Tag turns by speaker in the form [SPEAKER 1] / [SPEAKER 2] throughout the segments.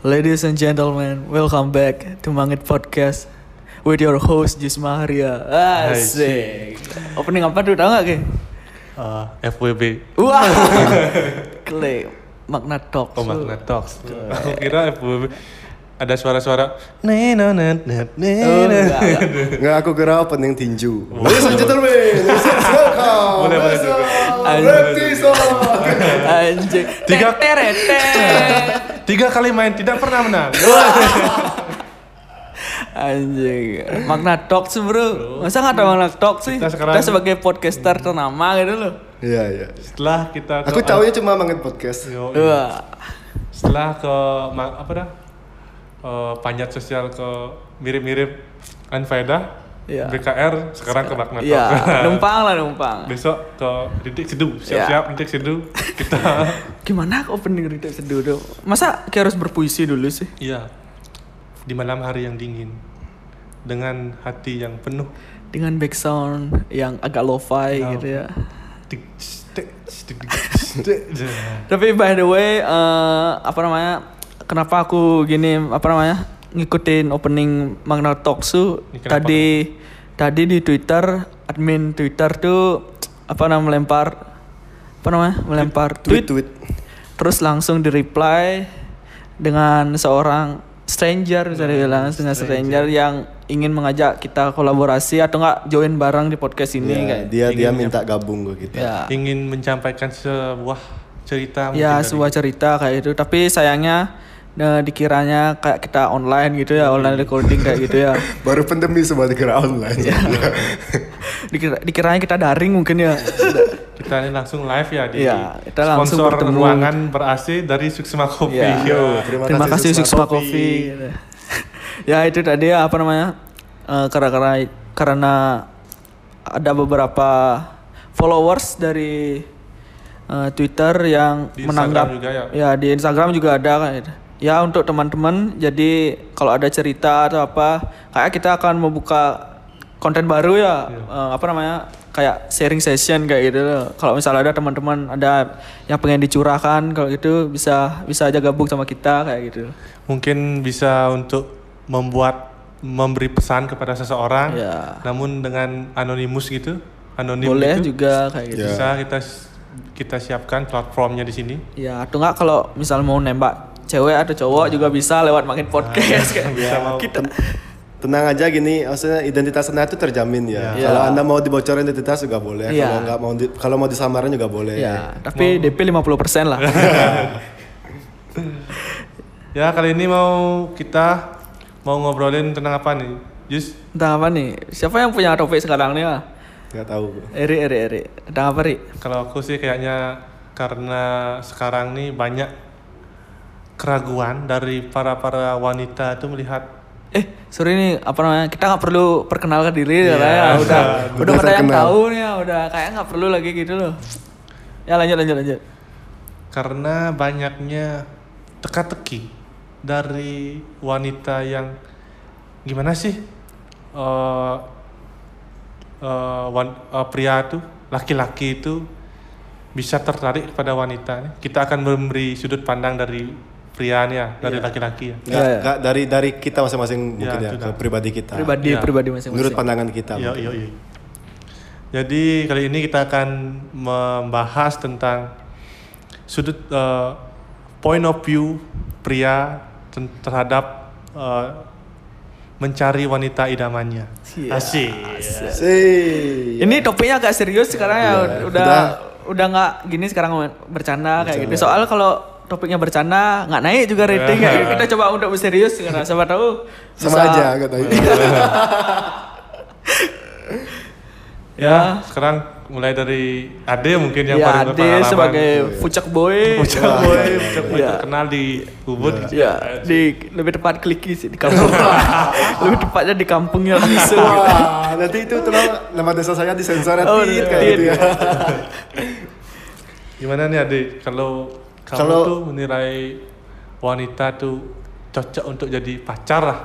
[SPEAKER 1] Ladies and gentlemen, welcome back to Mangit Podcast with your host Jus Maharia. Asik. Opening apa tuh tau gak Ki?
[SPEAKER 2] Eh, FWB
[SPEAKER 1] Wah. Kle makna talk.
[SPEAKER 2] Oh Magna Talks Aku kira FWB Ada suara-suara Neno nen nen nen
[SPEAKER 3] Nggak, aku kira opening tinju.
[SPEAKER 1] Oh, iya.
[SPEAKER 3] Ladies and gentlemen, welcome.
[SPEAKER 2] Boleh, boleh.
[SPEAKER 3] Besok,
[SPEAKER 1] Ayo.
[SPEAKER 3] Reptiso.
[SPEAKER 1] Anjing.
[SPEAKER 2] Tiga-
[SPEAKER 1] Teret, teret.
[SPEAKER 2] Tiga kali main tidak pernah menang
[SPEAKER 1] Anjing. Makna talk sih, Bro. Masa gak ada makna talk sih?
[SPEAKER 2] Kita sekarang-
[SPEAKER 1] Kita sebagai podcaster ternama gitu loh.
[SPEAKER 3] Iya, iya.
[SPEAKER 2] Setelah kita
[SPEAKER 3] Aku taunya cuma mangin podcast.
[SPEAKER 2] Yo, iya.
[SPEAKER 1] Wah.
[SPEAKER 2] Setelah ke ma- Apa dah Eh, Panjat sosial ke Mirip-mirip Kan Anfaedah
[SPEAKER 1] Iya.
[SPEAKER 2] BKR Sekarang ke Magna
[SPEAKER 1] Iya,
[SPEAKER 2] Talks
[SPEAKER 1] numpang lah numpang.
[SPEAKER 2] Besok ke Didik Seduh Siap-siap Didik Seduh Kita
[SPEAKER 1] Gimana opening Rita Seduh dong? Masa kayak harus berpuisi dulu sih?
[SPEAKER 2] Iya. Di malam hari yang dingin dengan hati yang penuh.
[SPEAKER 1] Dengan background yang agak lo-fi
[SPEAKER 2] Oh.
[SPEAKER 1] gitu ya.
[SPEAKER 2] Tik, tik, tik, tik, tik, tik.
[SPEAKER 1] Tapi by the way, eh, apa namanya? Kenapa aku gini, apa namanya? Ngikutin opening Magna Talksu
[SPEAKER 2] Ini kenapa?
[SPEAKER 1] tadi tadi di Twitter, admin Twitter tuh apa namanya melempar apa namanya? Melempar tweet,
[SPEAKER 3] Tweet, tweet.
[SPEAKER 1] terus langsung di reply dengan seorang stranger bisa dibilang dengan stranger yang ingin mengajak kita kolaborasi atau enggak join bareng di podcast ini
[SPEAKER 3] Iya,
[SPEAKER 1] kayak gitu.
[SPEAKER 3] dia dia minta gabung gitu. ke kita.
[SPEAKER 2] Iya.
[SPEAKER 1] ya
[SPEAKER 2] Ingin mencampaikan sebuah cerita mungkin
[SPEAKER 1] ya
[SPEAKER 2] dari-
[SPEAKER 1] sebuah cerita kayak itu tapi sayangnya eh, dikiranya kayak kita online gitu ya online recording kayak gitu ya
[SPEAKER 3] Baru pandemi semua dikira online.
[SPEAKER 1] Iya. Dikira, dikiranya kita daring mungkin ya
[SPEAKER 2] kita ini langsung live ya di
[SPEAKER 1] Iya, kita langsung
[SPEAKER 2] sponsor
[SPEAKER 1] bertemu.
[SPEAKER 2] ruangan berasi dari Suksma Kopi.
[SPEAKER 1] Iya.
[SPEAKER 2] Yo.
[SPEAKER 1] Terima, kasih Suksma
[SPEAKER 3] Coffee.
[SPEAKER 1] Coffee. Iya. ya itu tadi ya apa namanya? Eh, karena karena karena ada beberapa followers dari eh, Twitter yang
[SPEAKER 2] Di Instagram
[SPEAKER 1] menanggap
[SPEAKER 2] juga ya?
[SPEAKER 1] di Instagram juga ada kan gitu. Ya untuk teman-teman jadi kalau ada cerita atau apa kayak kita akan membuka konten baru ya
[SPEAKER 2] Iya.
[SPEAKER 1] eh, apa namanya kayak sharing session kayak gitu loh. Kalau misalnya ada teman-teman ada yang pengen dicurahkan kalau gitu bisa bisa aja gabung sama kita kayak gitu.
[SPEAKER 2] Mungkin bisa untuk membuat memberi pesan kepada seseorang,
[SPEAKER 1] Iya.
[SPEAKER 2] namun dengan anonimus gitu, anonim
[SPEAKER 1] Boleh
[SPEAKER 2] gitu.
[SPEAKER 1] juga kayak gitu.
[SPEAKER 2] Bisa kita kita siapkan platformnya di sini.
[SPEAKER 1] Ya, atau enggak kalau misal mau nembak cewek atau cowok juga bisa lewat makin podcast kayak gitu.
[SPEAKER 2] Bisa mau
[SPEAKER 1] Ya. kita.
[SPEAKER 3] Tenang aja gini, maksudnya identitas Anda itu terjamin ya.
[SPEAKER 1] Iya.
[SPEAKER 3] Kalau Anda mau dibocorin identitas juga boleh.
[SPEAKER 1] Iya.
[SPEAKER 3] Kalau nggak mau di- kalau mau disamaran juga boleh.
[SPEAKER 1] Ya, tapi DP 50% lah.
[SPEAKER 2] Ya kali ini mau kita mau ngobrolin tentang apa nih? Jus
[SPEAKER 1] Tentang apa nih? Siapa yang punya topik sekarang nih? ah?
[SPEAKER 3] Nggak tahu.
[SPEAKER 1] Eri, Eri, Eri. Tentang apa, Ri?
[SPEAKER 2] kalau aku sih kayaknya karena sekarang nih banyak keraguan dari para para wanita itu melihat
[SPEAKER 1] Eh, sorry nih, apa namanya? Kita nggak perlu perkenalkan diri ya, ya.
[SPEAKER 2] udah.
[SPEAKER 1] udah
[SPEAKER 3] Udah
[SPEAKER 1] udah pada yang
[SPEAKER 3] terkenal.
[SPEAKER 1] tahu nih, ya. udah kayak nggak perlu lagi gitu loh. Ya lanjut lanjut lanjut.
[SPEAKER 2] karena banyaknya teka-teki dari wanita yang gimana sih eh eh, wan- eh, pria itu laki-laki itu bisa tertarik pada wanita nih. Kita akan memberi sudut pandang dari pria nih ya, dari laki-laki ya.
[SPEAKER 3] Nggak,
[SPEAKER 1] Iya, iya.
[SPEAKER 3] nggak, dari dari kita masing-masing mungkin ya,
[SPEAKER 2] itu
[SPEAKER 3] ke
[SPEAKER 2] dah.
[SPEAKER 3] pribadi kita.
[SPEAKER 1] Pribadi
[SPEAKER 2] Ya.
[SPEAKER 1] pribadi masing-masing.
[SPEAKER 3] Menurut pandangan kita.
[SPEAKER 2] Iya, iya, iya. Jadi kali ini kita akan membahas tentang sudut eh, point of view pria ten- terhadap eh, mencari wanita idamannya.
[SPEAKER 1] Iya.
[SPEAKER 2] Asik.
[SPEAKER 3] Sih.
[SPEAKER 1] Ini topiknya agak serius sekarang
[SPEAKER 3] Iya.
[SPEAKER 1] ya. Udah udah nggak gini sekarang ngomong- bercanda kayak gitu. Soalnya kalau topiknya bercanda nggak naik juga rating kayak gitu. Kita coba untuk serius sekarang. Siapa tahu bisa-
[SPEAKER 3] Sama aja katanya.
[SPEAKER 2] Ya, sekarang mulai dari Ade mungkin yang
[SPEAKER 1] Ya,
[SPEAKER 2] paling
[SPEAKER 1] Ade
[SPEAKER 2] berpengalaman. gitu ya.
[SPEAKER 1] sebagai fucek boy.
[SPEAKER 2] Bocah boy, bocah boy terkenal di Ubud. gitu.
[SPEAKER 1] Ya, di lebih tepat kliki sih di kampung. lebih tepatnya di kampungnya langsung.
[SPEAKER 3] Wah, nanti itu tolong nama desa saya disensor ya,
[SPEAKER 1] Oh,
[SPEAKER 3] Tit, kayak
[SPEAKER 1] Tit.
[SPEAKER 3] gitu ya.
[SPEAKER 2] Gimana nih Ade, kalau kamu
[SPEAKER 3] Kalau-
[SPEAKER 2] tuh menilai wanita tuh cocok untuk jadi pacar lah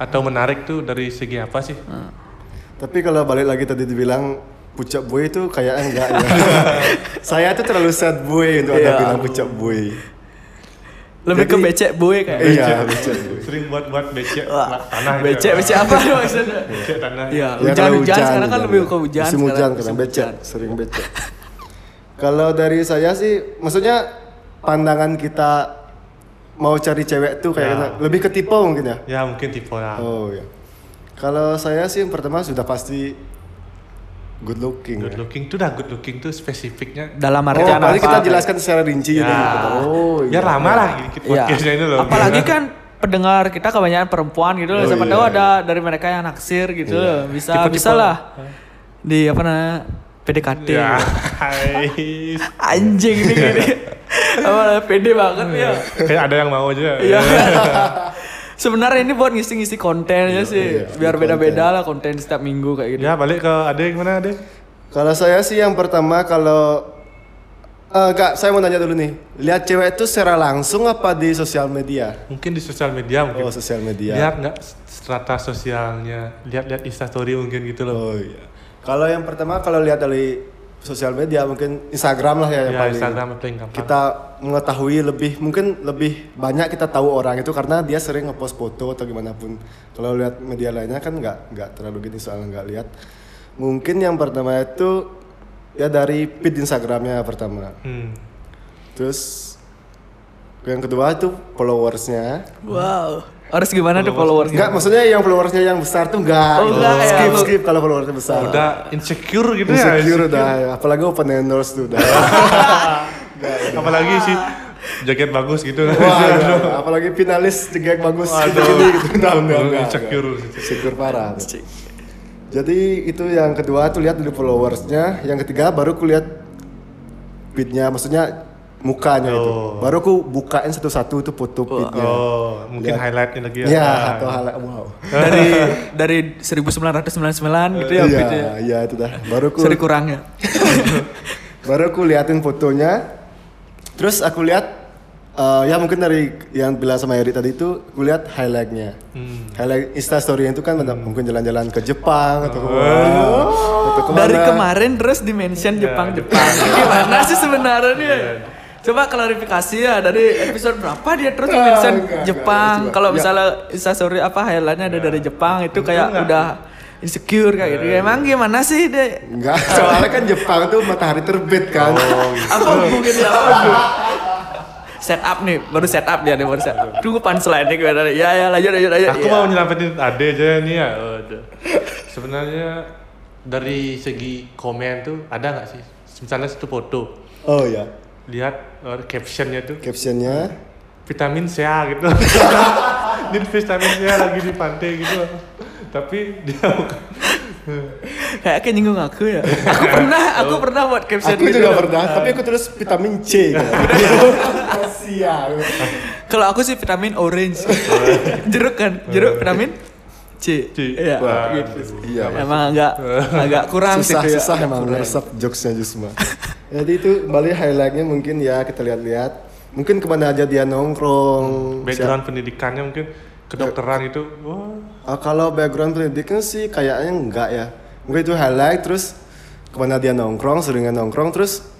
[SPEAKER 2] atau menarik tuh dari segi apa sih?
[SPEAKER 1] Hmm.
[SPEAKER 3] Tapi kalau balik lagi tadi dibilang pucuk boy itu kayaknya enggak ya. saya tuh terlalu sad boy untuk ada
[SPEAKER 1] Iya.
[SPEAKER 3] bilang pucuk boy.
[SPEAKER 1] Lebih ke
[SPEAKER 3] Jadi-
[SPEAKER 1] becek boy kayak.
[SPEAKER 3] Iya, becek, Bu.
[SPEAKER 2] Sering buat-buat becek
[SPEAKER 1] Wah,
[SPEAKER 2] tanah. gitu.
[SPEAKER 1] becek becek apa maksudnya?
[SPEAKER 2] Becek tanah.
[SPEAKER 1] Iya,
[SPEAKER 3] Ya,
[SPEAKER 1] hujan,
[SPEAKER 3] kalau
[SPEAKER 1] hujan sekarang kan lebih ke hujan.
[SPEAKER 3] Musim
[SPEAKER 1] sekarang,
[SPEAKER 3] hujan
[SPEAKER 1] musim
[SPEAKER 3] kadang becek,
[SPEAKER 1] hujan.
[SPEAKER 3] sering becek. Kalau dari saya sih, maksudnya pandangan kita mau cari cewek tuh kayak
[SPEAKER 2] Ya.
[SPEAKER 3] gimana? lebih ke tipe mungkin ya.
[SPEAKER 2] Ya mungkin tipe lah.
[SPEAKER 3] Oh ya. Kalau saya sih yang pertama sudah pasti good
[SPEAKER 1] iya.
[SPEAKER 3] looking.
[SPEAKER 2] Good
[SPEAKER 3] ya.
[SPEAKER 2] looking tuh dah good looking tuh spesifiknya.
[SPEAKER 1] Dalam
[SPEAKER 3] Oh,
[SPEAKER 1] artian
[SPEAKER 3] paling
[SPEAKER 1] apa?
[SPEAKER 3] kita jelaskan secara rinci
[SPEAKER 2] Ya.
[SPEAKER 3] jadi. gitu. Oh, iya.
[SPEAKER 2] Biar lama lah dikit
[SPEAKER 1] Iya.
[SPEAKER 2] podcastnya ini loh.
[SPEAKER 1] Apalagi kan pendengar kita kebanyakan perempuan gitu loh.
[SPEAKER 3] Oh,
[SPEAKER 1] Siapa
[SPEAKER 3] iya,
[SPEAKER 1] tahu
[SPEAKER 3] iya.
[SPEAKER 1] ada dari mereka yang naksir gitu loh. Bisa
[SPEAKER 2] Tipe-tipe-
[SPEAKER 1] bisa lah. Di apa namanya? PDKT.
[SPEAKER 3] Iya.
[SPEAKER 2] Ya. Hai.
[SPEAKER 1] Anjing nih gini. apa namanya, pede banget ya.
[SPEAKER 3] Iya.
[SPEAKER 2] Kayak ada yang mau aja.
[SPEAKER 1] Iya. Sebenarnya ini buat ngisi-ngisi kontennya sih.
[SPEAKER 3] iya,
[SPEAKER 1] Biar
[SPEAKER 3] konten. Iya.
[SPEAKER 1] beda-beda lah konten setiap minggu kayak gitu.
[SPEAKER 2] Ya balik ke Ade gimana Ade?
[SPEAKER 3] Kalau saya sih yang pertama kalau Eh, Kak, saya mau nanya dulu nih. Lihat cewek itu secara langsung apa di sosial media?
[SPEAKER 2] Mungkin di sosial media mungkin.
[SPEAKER 3] Oh, sosial media.
[SPEAKER 2] Lihat nggak strata sosialnya, lihat-lihat instastory mungkin gitu loh.
[SPEAKER 3] Oh iya. Kalau yang pertama kalau lihat dari sosial media mungkin Instagram lah ya yang
[SPEAKER 2] ya
[SPEAKER 3] paling.
[SPEAKER 2] Instagram paling gampang.
[SPEAKER 3] Kita mengetahui lebih mungkin lebih banyak kita tahu orang itu karena dia sering ngepost foto atau gimana pun. Kalau lihat media lainnya kan nggak nggak terlalu gini soalnya nggak lihat. Mungkin yang pertama itu ya dari feed Instagramnya pertama.
[SPEAKER 2] Hmm.
[SPEAKER 3] Terus yang kedua itu followersnya.
[SPEAKER 1] Wow. Harus gimana tuh followers?
[SPEAKER 3] Enggak, maksudnya yang followersnya yang besar tuh
[SPEAKER 1] Iya.
[SPEAKER 3] enggak.
[SPEAKER 1] Oh, enggak ya.
[SPEAKER 3] skip skip kalau followersnya besar.
[SPEAKER 2] Udah insecure gitu ya.
[SPEAKER 1] Iya,
[SPEAKER 3] Insecure udah, apalagi open endorse tuh udah.
[SPEAKER 2] Apalagi sih jaket bagus gitu.
[SPEAKER 3] Wah, udah. apalagi finalis jegek bagus gitu gitu udah udah
[SPEAKER 2] Lu
[SPEAKER 3] udah.
[SPEAKER 2] insecure.
[SPEAKER 3] Insecure parah. Jadi itu yang kedua tuh lihat dulu followersnya, yang ketiga baru ku lihat feednya, maksudnya mukanya itu.
[SPEAKER 2] Oh.
[SPEAKER 3] Baru ku bukain satu-satu tuh foto feednya.
[SPEAKER 2] Oh, mungkin
[SPEAKER 3] Ya. Lihat.
[SPEAKER 2] highlightnya lagi
[SPEAKER 3] Ya,
[SPEAKER 2] ya.
[SPEAKER 3] atau hal wow.
[SPEAKER 1] dari dari 1999 gitu ya
[SPEAKER 3] Iya,
[SPEAKER 1] gitu ya.
[SPEAKER 3] iya itu dah. Baru ku
[SPEAKER 1] Seri kurangnya.
[SPEAKER 3] baru aku liatin fotonya terus aku lihat eh, ya mungkin dari yang bilang sama Eri tadi itu aku lihat highlightnya
[SPEAKER 1] Hmm.
[SPEAKER 3] highlight instastorynya itu kan mungkin jalan-jalan ke Jepang atau kemana, atau kemana.
[SPEAKER 1] Oh. Dari kemarin terus di mention Jepang Jepang. Gimana sih sebenarnya? Coba klarifikasi ya dari episode berapa dia terus
[SPEAKER 3] Ah,
[SPEAKER 1] mention
[SPEAKER 3] enggak, enggak,
[SPEAKER 1] Jepang.
[SPEAKER 3] coba.
[SPEAKER 1] Kalau
[SPEAKER 3] Ya.
[SPEAKER 1] misalnya instastory apa highlightnya ada dari Jepang itu kayak
[SPEAKER 2] enggak.
[SPEAKER 1] udah insecure kayak gitu. Emang gimana sih deh?
[SPEAKER 3] enggak soalnya kan Jepang tuh matahari terbit kan
[SPEAKER 1] Apa mungkin ya? Set up nih, baru set up dia nih, baru set up. Tunggu punchline-nya gimana nih? Ya ya lanjut lanjut lanjut.
[SPEAKER 2] Aku
[SPEAKER 1] Ya.
[SPEAKER 2] mau nyelamatin Ade aja nih ya. Waduh. Sebenarnya dari segi komen tuh ada nggak sih? Misalnya satu foto,
[SPEAKER 3] oh ya
[SPEAKER 2] lihat eh, captionnya tuh
[SPEAKER 3] captionnya
[SPEAKER 2] vitamin C gitu. Ini vitamin C lagi di pantai gitu. Tapi dia bukan.
[SPEAKER 1] Kayaknya nyinggung aku ya. Aku pernah, aku pernah buat caption
[SPEAKER 3] aku
[SPEAKER 1] gitu.
[SPEAKER 3] juga pernah tapi aku terus vitamin C gitu. Sial.
[SPEAKER 1] Kalau aku sih vitamin orange. jeruk kan, jeruk vitamin C.
[SPEAKER 2] C.
[SPEAKER 1] Iya.
[SPEAKER 2] Wah,
[SPEAKER 1] gitu.
[SPEAKER 3] iya
[SPEAKER 1] Emang agak agak kurang
[SPEAKER 3] susah
[SPEAKER 1] gitu ya.
[SPEAKER 3] susah emang resep jokesnya Jusma jadi itu balik highlightnya mungkin ya kita lihat-lihat mungkin kemana aja dia nongkrong Siap-
[SPEAKER 2] background pendidikannya mungkin kedokteran itu. Wah.
[SPEAKER 3] Ah, kalau background pendidikan sih kayaknya enggak ya mungkin itu highlight terus kemana dia nongkrong seringnya nongkrong terus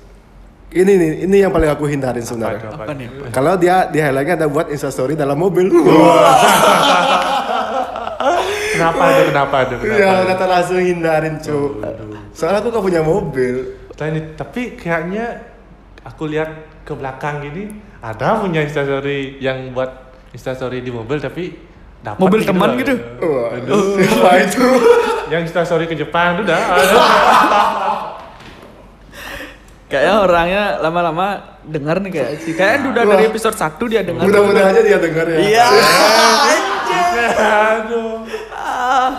[SPEAKER 3] ini nih ini yang paling aku hindarin
[SPEAKER 2] itu
[SPEAKER 3] sebenarnya
[SPEAKER 1] Apa nih?
[SPEAKER 3] kalau dia di highlightnya ada buat instastory dalam mobil
[SPEAKER 2] Kenapa ada kenapa ada
[SPEAKER 1] Iya,
[SPEAKER 2] kenapa?
[SPEAKER 3] ya
[SPEAKER 2] ada?
[SPEAKER 3] kata langsung hindarin cu soalnya aku gak punya mobil
[SPEAKER 2] Tapi, Nah, tapi kayaknya aku lihat ke belakang gini ada punya instastory yang buat instastory di mobil tapi dapat
[SPEAKER 1] Mobil teman gitu?
[SPEAKER 3] Wah, siapa itu
[SPEAKER 2] yang instastory ke Jepang itu dah ada.
[SPEAKER 1] Kayaknya orangnya lama-lama dengar nih kayak sih. Kayaknya udah dari episode 1 dia dengar.
[SPEAKER 3] Mudah-mudahan aja dia dengar ya.
[SPEAKER 1] Iya.
[SPEAKER 2] aduh
[SPEAKER 1] Ah.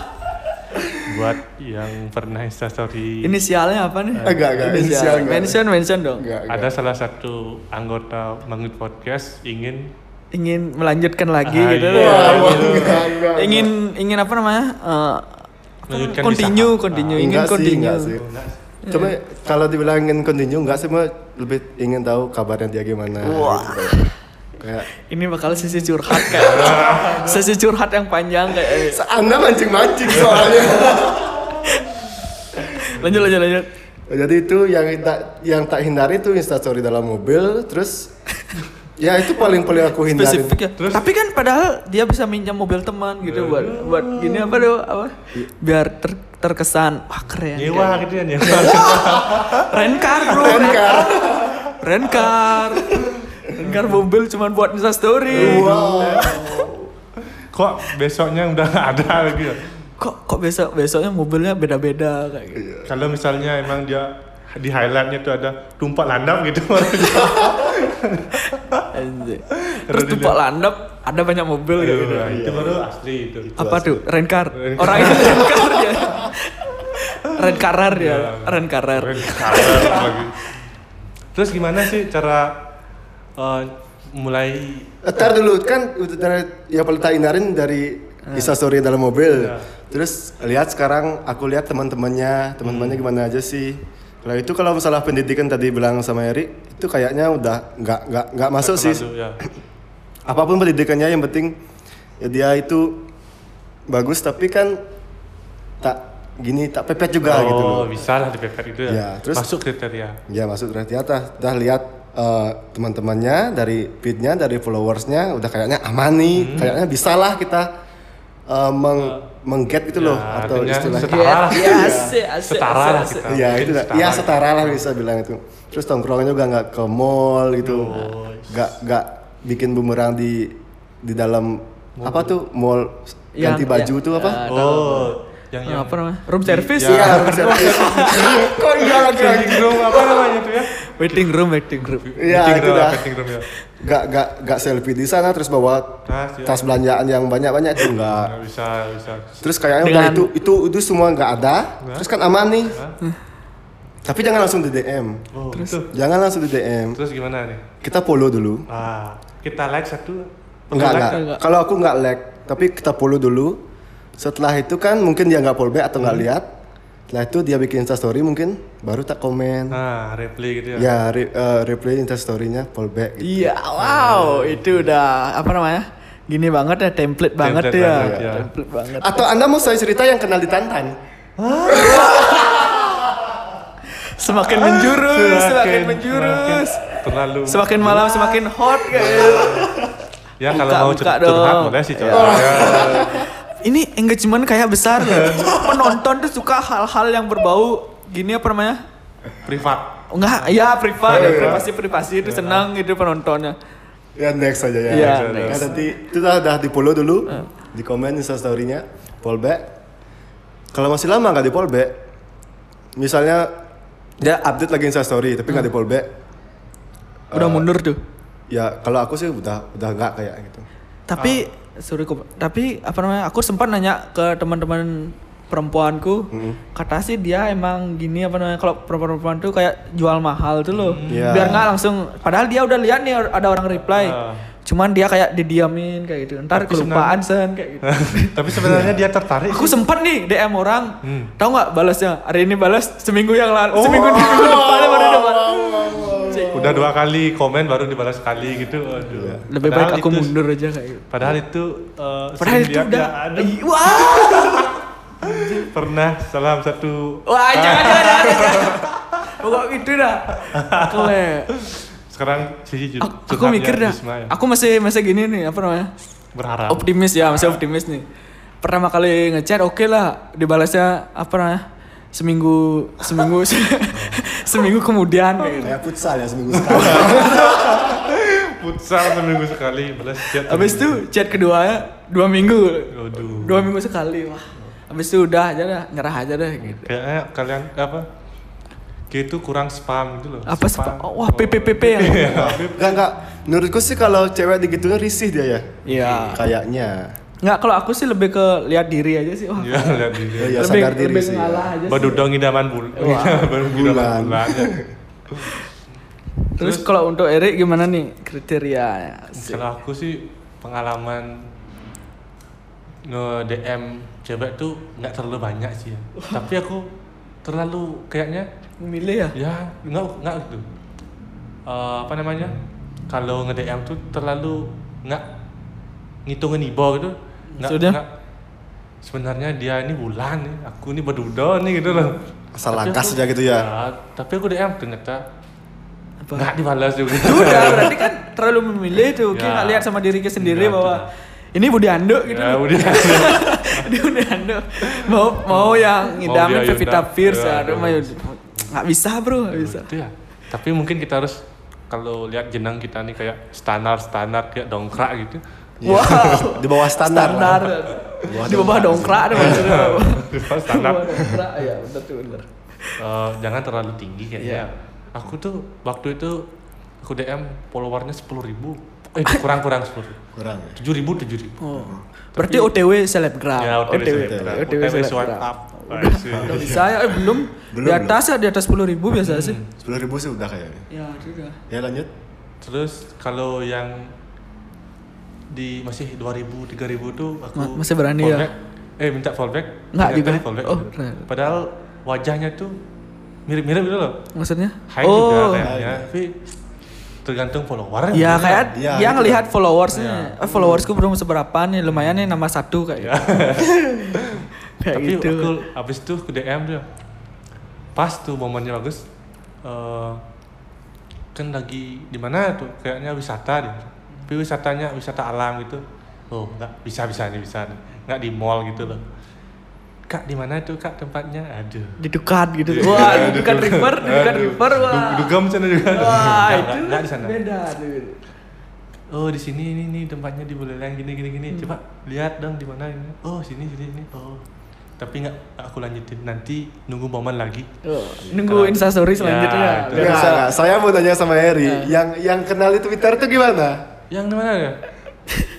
[SPEAKER 2] buat yang pernah instastory
[SPEAKER 1] Inisialnya apa nih?
[SPEAKER 3] Agak, agak. Inisial enggak.
[SPEAKER 1] Mention, mention dong.
[SPEAKER 3] Enggak, enggak.
[SPEAKER 2] ada salah satu anggota Manggut Podcast ingin
[SPEAKER 1] Ingin melanjutkan lagi
[SPEAKER 2] Ah,
[SPEAKER 1] gitu.
[SPEAKER 2] iya.
[SPEAKER 1] ya.
[SPEAKER 3] Wah, enggak, enggak.
[SPEAKER 1] Ingin ingin apa namanya? Eh, apa
[SPEAKER 2] Melanjutkan di
[SPEAKER 1] continue,
[SPEAKER 2] saham.
[SPEAKER 1] continue, ingin
[SPEAKER 3] Ah, Enggak sih,
[SPEAKER 1] continue. Iya.
[SPEAKER 3] enggak sih. Coba kalau dibilang ingin continue enggak sih, Mbak? lebih ingin tahu kabarnya dia gimana.
[SPEAKER 1] Wah.
[SPEAKER 3] gitu. Kayak
[SPEAKER 1] Ini bakal sesi curhat kayak sesi curhat yang panjang kayak
[SPEAKER 3] Anda mancing-mancing soalnya.
[SPEAKER 1] lanjut lanjut lanjut.
[SPEAKER 3] Jadi itu yang tak yang tak hindari itu instastory dalam mobil, terus ya itu paling paling aku hindari
[SPEAKER 1] spesifik ya.
[SPEAKER 2] Terus? Iya.
[SPEAKER 1] Tapi kan padahal dia bisa minjam mobil teman gitu buat buat gini apa tuh apa biar ter- terkesan wah keren.
[SPEAKER 2] nyewa gitu ya nyewa
[SPEAKER 1] Rencar bro.
[SPEAKER 3] Rencar.
[SPEAKER 1] Rencar. Rencar mobil cuman buat Insta story.
[SPEAKER 2] Iya. kok besoknya udah nggak ada lagi ya?
[SPEAKER 1] Kok kok besok besoknya mobilnya beda-beda kayak gitu.
[SPEAKER 2] kalau misalnya emang dia di highlightnya tuh ada tumpak landam gitu
[SPEAKER 1] Anjir.
[SPEAKER 2] Terus
[SPEAKER 1] Terus tumpak
[SPEAKER 2] dilihat.
[SPEAKER 1] landap ada banyak mobil
[SPEAKER 3] Iya,
[SPEAKER 1] gitu.
[SPEAKER 2] Aduh, nah, itu baru asli itu
[SPEAKER 1] Apa tuh? Rencar.
[SPEAKER 2] Rencar.
[SPEAKER 1] Orang itu rencar ya. Rencarar ya.
[SPEAKER 2] Iya.
[SPEAKER 1] Rencarar.
[SPEAKER 2] Keren, keren lagi. terus gimana sih cara eh, mulai
[SPEAKER 3] Ntar dulu kan udah dari- yang paling tak hindarin dari instastory dalam mobil. Terus lihat sekarang aku lihat teman-temannya, teman-temannya gimana aja sih. Kalau itu kalau masalah pendidikan tadi bilang sama Eri, itu kayaknya udah nggak nggak nggak masuk sih.
[SPEAKER 2] termasuk, ya.
[SPEAKER 3] Apapun pendidikannya yang penting ya dia itu bagus tapi kan tak gini tak pepet juga gitu loh.
[SPEAKER 2] oh bisa lah di PPR itu ya,
[SPEAKER 3] Ya, terus-
[SPEAKER 2] masuk kriteria
[SPEAKER 3] Ya masuk di atas, udah lihat eh, teman-temannya dari feednya, dari followersnya, udah kayaknya aman nih,
[SPEAKER 2] Hmm.
[SPEAKER 3] kayaknya bisa lah kita eh, meng mengget gitu
[SPEAKER 2] Ya,
[SPEAKER 3] loh atau
[SPEAKER 2] artinya
[SPEAKER 3] istilahnya.
[SPEAKER 2] setara lah
[SPEAKER 1] Iya, asik, asik, asik,
[SPEAKER 2] setara lah
[SPEAKER 1] asik.
[SPEAKER 2] kita
[SPEAKER 3] Iya
[SPEAKER 2] Mungkin gitu.
[SPEAKER 3] itu, dah. ya setara lah bisa bilang itu. Terus tongkrongnya juga nggak ke mall gitu,
[SPEAKER 2] Oh,
[SPEAKER 3] nggak nggak bikin bumerang di di dalam apa tuh mall
[SPEAKER 1] Yang-
[SPEAKER 3] ganti baju
[SPEAKER 1] ya,
[SPEAKER 3] tuh apa?
[SPEAKER 1] ya,
[SPEAKER 2] oh
[SPEAKER 3] iya.
[SPEAKER 2] yang yang
[SPEAKER 1] apa namanya? Room service.
[SPEAKER 2] Iya.
[SPEAKER 1] ya.
[SPEAKER 3] Kok iya lagi lagi?
[SPEAKER 2] Meeting room apa namanya tuh ya
[SPEAKER 1] Waiting room, waiting room.
[SPEAKER 3] Iya,
[SPEAKER 2] Meeting
[SPEAKER 1] gitu
[SPEAKER 3] itu
[SPEAKER 2] room,
[SPEAKER 3] dah.
[SPEAKER 2] meeting room ya
[SPEAKER 3] Gak gak gak selfie di sana terus bawa
[SPEAKER 2] Tas, ya.
[SPEAKER 3] tas belanjaan yang banyak banyak itu nggak.
[SPEAKER 2] Nggak bisa nggak bisa
[SPEAKER 3] Terus kayaknya udah
[SPEAKER 1] Dengan-
[SPEAKER 3] itu itu itu semua nggak ada. Terus kan aman nih. Tapi jangan langsung di DM.
[SPEAKER 2] oh, terus
[SPEAKER 1] gitu.
[SPEAKER 3] Jangan langsung di DM.
[SPEAKER 2] terus gimana nih
[SPEAKER 3] Kita follow dulu.
[SPEAKER 2] ah kita like satu
[SPEAKER 3] Enggak
[SPEAKER 2] like
[SPEAKER 3] enggak.
[SPEAKER 1] enggak.
[SPEAKER 3] Kalau aku nggak lag, tapi kita follow dulu. Setelah itu kan mungkin dia nggak follow back atau nggak lihat. Setelah itu dia bikin instastory mungkin baru tak komen.
[SPEAKER 2] nah reply gitu ya
[SPEAKER 3] Ya re, eh, replay instastory-nya follow back. gitu.
[SPEAKER 1] Iya, wow, itu udah apa namanya? Gini banget ya, template banget
[SPEAKER 2] Template
[SPEAKER 1] ya.
[SPEAKER 2] banget, ya.
[SPEAKER 1] Template banget.
[SPEAKER 3] Atau Anda mau saya cerita yang kenal di Tantan?
[SPEAKER 1] Semakin menjurus, semakin
[SPEAKER 2] semakin
[SPEAKER 1] menjurus.
[SPEAKER 2] terlalu
[SPEAKER 1] Semakin malam semakin hot kayak.
[SPEAKER 2] ya kalau
[SPEAKER 1] Buka-
[SPEAKER 2] mau
[SPEAKER 1] buka
[SPEAKER 2] curhat curhat
[SPEAKER 1] dong. Iya.
[SPEAKER 2] boleh sih Ya, curhat
[SPEAKER 1] Ini engagement kayak besar ya. Penonton tuh suka hal-hal yang berbau gini apa namanya?
[SPEAKER 2] privat
[SPEAKER 1] Enggak, ya privat, privasi-privasi itu senang gitu penontonnya.
[SPEAKER 3] Ya next aja ya.
[SPEAKER 1] Iya,
[SPEAKER 3] Nah,
[SPEAKER 1] next.
[SPEAKER 3] nanti itu dah, dah di follow dulu, di komen instastorynya, fallback. Kalau masih lama nggak di fallback, misalnya dia update lagi instastory tapi nggak di fallback,
[SPEAKER 1] Udah mundur tuh.
[SPEAKER 3] ya kalau aku sih udah udah nggak kayak gitu.
[SPEAKER 1] Tapi
[SPEAKER 2] Ah.
[SPEAKER 1] sorry kok, tapi apa namanya? Aku sempat nanya ke teman-teman perempuanku, kata sih dia emang gini apa namanya? Kalau perempuan-perempuan tuh kayak jual mahal tuh loh.
[SPEAKER 3] Iya.
[SPEAKER 1] Biar nggak langsung padahal dia udah lihat nih ada orang reply.
[SPEAKER 2] Ah.
[SPEAKER 1] Cuman dia kayak didiamin kayak gitu. Ntar
[SPEAKER 2] Tapi
[SPEAKER 1] kelupaan sen kayak gitu.
[SPEAKER 2] tapi sebenarnya dia tertarik
[SPEAKER 1] Aku sempat nih DM orang,
[SPEAKER 2] Hmm. Oh.
[SPEAKER 1] tahu nggak balasnya? Hari ini balas seminggu yang lalu, seminggu minggu depannya baru ada balas. Cek,
[SPEAKER 2] udah dua kali komen baru dibalas sekali gitu aduh
[SPEAKER 1] Iya. Lebih
[SPEAKER 2] Padahal
[SPEAKER 1] baik aku
[SPEAKER 2] itu-
[SPEAKER 1] mundur aja kayak gitu.
[SPEAKER 2] padahal itu eh,
[SPEAKER 1] Padahal
[SPEAKER 2] sering
[SPEAKER 1] itu
[SPEAKER 2] dia-
[SPEAKER 1] udah. Iya.
[SPEAKER 2] dia ada
[SPEAKER 1] Ih, Wah.
[SPEAKER 2] pernah salam satu
[SPEAKER 1] Wah, jangan, jangan, jangan. Pokok itu dah. Kele.
[SPEAKER 2] sekarang sisi
[SPEAKER 1] Aku, aku mikir
[SPEAKER 2] ya,
[SPEAKER 1] dah. Aku masih masih gini nih, apa namanya?
[SPEAKER 2] berharap
[SPEAKER 1] Optimis ya, masih optimis nih. Pertama kali ngechat oke lah, dibalasnya apa namanya? Seminggu seminggu seminggu kemudian kayak gitu.
[SPEAKER 3] Kayak futsal ya seminggu sekali.
[SPEAKER 2] futsal seminggu sekali balas chat
[SPEAKER 1] Habis itu chat kedua dua minggu.
[SPEAKER 2] aduh
[SPEAKER 1] Dua minggu sekali, wah. Habis itu udah aja dah, nyerah aja dah gitu.
[SPEAKER 2] kayaknya eh, kalian apa kayak itu kurang spam Oh, gitu loh
[SPEAKER 1] Apa sih? Pak? Wah, PPPP ya.
[SPEAKER 3] Enggak enggak. Menurutku sih kalau cewek digituin risih dia ya.
[SPEAKER 1] Iya.
[SPEAKER 3] Kayaknya.
[SPEAKER 1] Nggak, kalau aku sih lebih ke lihat diri aja sih. Wah,
[SPEAKER 2] ya lihat di
[SPEAKER 3] Ya, ya
[SPEAKER 1] lebih,
[SPEAKER 3] sadar diri
[SPEAKER 1] lebih
[SPEAKER 3] sih. ya.
[SPEAKER 1] ngalah aja sih.
[SPEAKER 2] badudong idaman bul
[SPEAKER 1] Iya. Wah.
[SPEAKER 2] badudong idaman
[SPEAKER 3] Bulan.
[SPEAKER 2] bulan ya.
[SPEAKER 1] Terus kalau untuk Erik gimana nih kriterianya?
[SPEAKER 2] kalau aku sih pengalaman nge DM cewek tuh nggak terlalu banyak sih ya. tapi aku terlalu kayaknya
[SPEAKER 1] Memilih ya?
[SPEAKER 2] ya nggak nggak gitu Eh, apa namanya kalau nge DM tuh terlalu nggak ngitungin ibo gitu nggak
[SPEAKER 1] Maksudnya?
[SPEAKER 2] nggak- sebenarnya dia ini bulan nih aku ini badudon nih gitu loh
[SPEAKER 3] Asal
[SPEAKER 2] Tapi
[SPEAKER 3] langkas
[SPEAKER 2] aku-
[SPEAKER 3] aja gitu ya.
[SPEAKER 2] tapi aku DM ternyata
[SPEAKER 1] Apa?
[SPEAKER 2] nggak dibalas juga
[SPEAKER 1] Udah berarti kan terlalu memilih tuh. Ki
[SPEAKER 2] Ya.
[SPEAKER 1] nggak lihat sama diri Ki sendiri
[SPEAKER 2] Nggak,
[SPEAKER 1] bahwa ini Budi Anduk gitu.
[SPEAKER 2] ya
[SPEAKER 1] loh.
[SPEAKER 2] udah
[SPEAKER 1] Dia Budi Anduk. Mau mau yang
[SPEAKER 2] dia
[SPEAKER 1] ngidamin Pevita
[SPEAKER 2] Yunda.
[SPEAKER 1] Pierce
[SPEAKER 2] Ya,
[SPEAKER 1] ya, aduh, mah,
[SPEAKER 2] aduh.
[SPEAKER 1] nggak bisa bro, nggak bisa.
[SPEAKER 2] itu ya tapi mungkin kita harus kalau lihat jenang kita nih kayak standar standar kayak dongkrak gitu
[SPEAKER 1] Wow.
[SPEAKER 3] Di bawah Iya. standar.
[SPEAKER 1] Standar.
[SPEAKER 3] lah.
[SPEAKER 1] Di bawah dongkrak ada maksudnya.
[SPEAKER 2] Di bawah
[SPEAKER 1] Di
[SPEAKER 2] standar
[SPEAKER 1] bawah dongkrak ya, bener tuh bener.
[SPEAKER 2] Eh, jangan terlalu tinggi kayaknya
[SPEAKER 1] Iya.
[SPEAKER 2] aku tuh waktu itu aku DM followernya sepuluh ribu eh kurang kurang sepuluh
[SPEAKER 3] Kurang. ya?
[SPEAKER 2] tujuh ribu tujuh ribu
[SPEAKER 1] Oh. Berarti OTW selebgram.
[SPEAKER 2] Ya, OTW selebgram.
[SPEAKER 1] OTW
[SPEAKER 2] OTW swipe
[SPEAKER 1] selebgram.
[SPEAKER 2] up.
[SPEAKER 1] Udah,
[SPEAKER 2] I see.
[SPEAKER 1] udah bisa ya, eh, belum.
[SPEAKER 3] Belum,
[SPEAKER 1] Di
[SPEAKER 3] belum.
[SPEAKER 1] atas ya, di atas 10 ribu biasa sih.
[SPEAKER 3] Sepuluh ribu sih udah kayaknya.
[SPEAKER 1] Ya, sudah.
[SPEAKER 3] Ya lanjut.
[SPEAKER 2] terus kalau yang di masih 2000 3000 tuh aku
[SPEAKER 1] Ma- masih berani ya?
[SPEAKER 2] fallback. eh minta fallback
[SPEAKER 1] Nggak
[SPEAKER 2] ternyata
[SPEAKER 1] juga.
[SPEAKER 2] fallback.
[SPEAKER 1] Oh, keren.
[SPEAKER 2] padahal wajahnya tuh mirip-mirip gitu loh
[SPEAKER 1] Maksudnya?
[SPEAKER 2] high juga
[SPEAKER 1] Oh.
[SPEAKER 2] kayaknya tapi tergantung follower
[SPEAKER 1] Ya kayak
[SPEAKER 3] Iya,
[SPEAKER 1] dia
[SPEAKER 3] gitu. Iya.
[SPEAKER 1] ngelihat followersnya. Eh, followersku belum seberapa nih, lumayan nih nama satu
[SPEAKER 2] Iya.
[SPEAKER 1] kayak. gitu. kayak
[SPEAKER 2] tapi
[SPEAKER 1] gitu.
[SPEAKER 2] aku abis itu ke DM dia pas tuh momennya bagus Eh, kan lagi di mana tuh kayaknya wisata deh tapi wisatanya wisata alam gitu oh nggak bisa bisa nih bisa nih nggak di mall gitu loh kak di mana tuh kak tempatnya aduh
[SPEAKER 1] Di Dukat gitu.
[SPEAKER 2] Iya.
[SPEAKER 1] Wah, di Dukat River, di Dukat River wah.
[SPEAKER 2] dugam sana juga
[SPEAKER 1] Wah,
[SPEAKER 2] Nggak,
[SPEAKER 1] itu
[SPEAKER 2] nggak, nggak di sana
[SPEAKER 1] beda tuh.
[SPEAKER 2] oh di sini ini nih tempatnya di Buleleng gini gini
[SPEAKER 1] Hmm.
[SPEAKER 2] gini coba lihat dong di mana ini oh sini sini sini oh tapi nggak aku lanjutin nanti nunggu momen lagi
[SPEAKER 1] Tuh, nunggu instastory selanjutnya.
[SPEAKER 2] Ya, itu.
[SPEAKER 1] Biar
[SPEAKER 3] Nggak,
[SPEAKER 1] bisa-
[SPEAKER 3] Iya, nggak. saya mau tanya sama Eri,
[SPEAKER 2] Iya.
[SPEAKER 3] yang yang kenal di Twitter tuh gimana?
[SPEAKER 2] Yang di mana ya?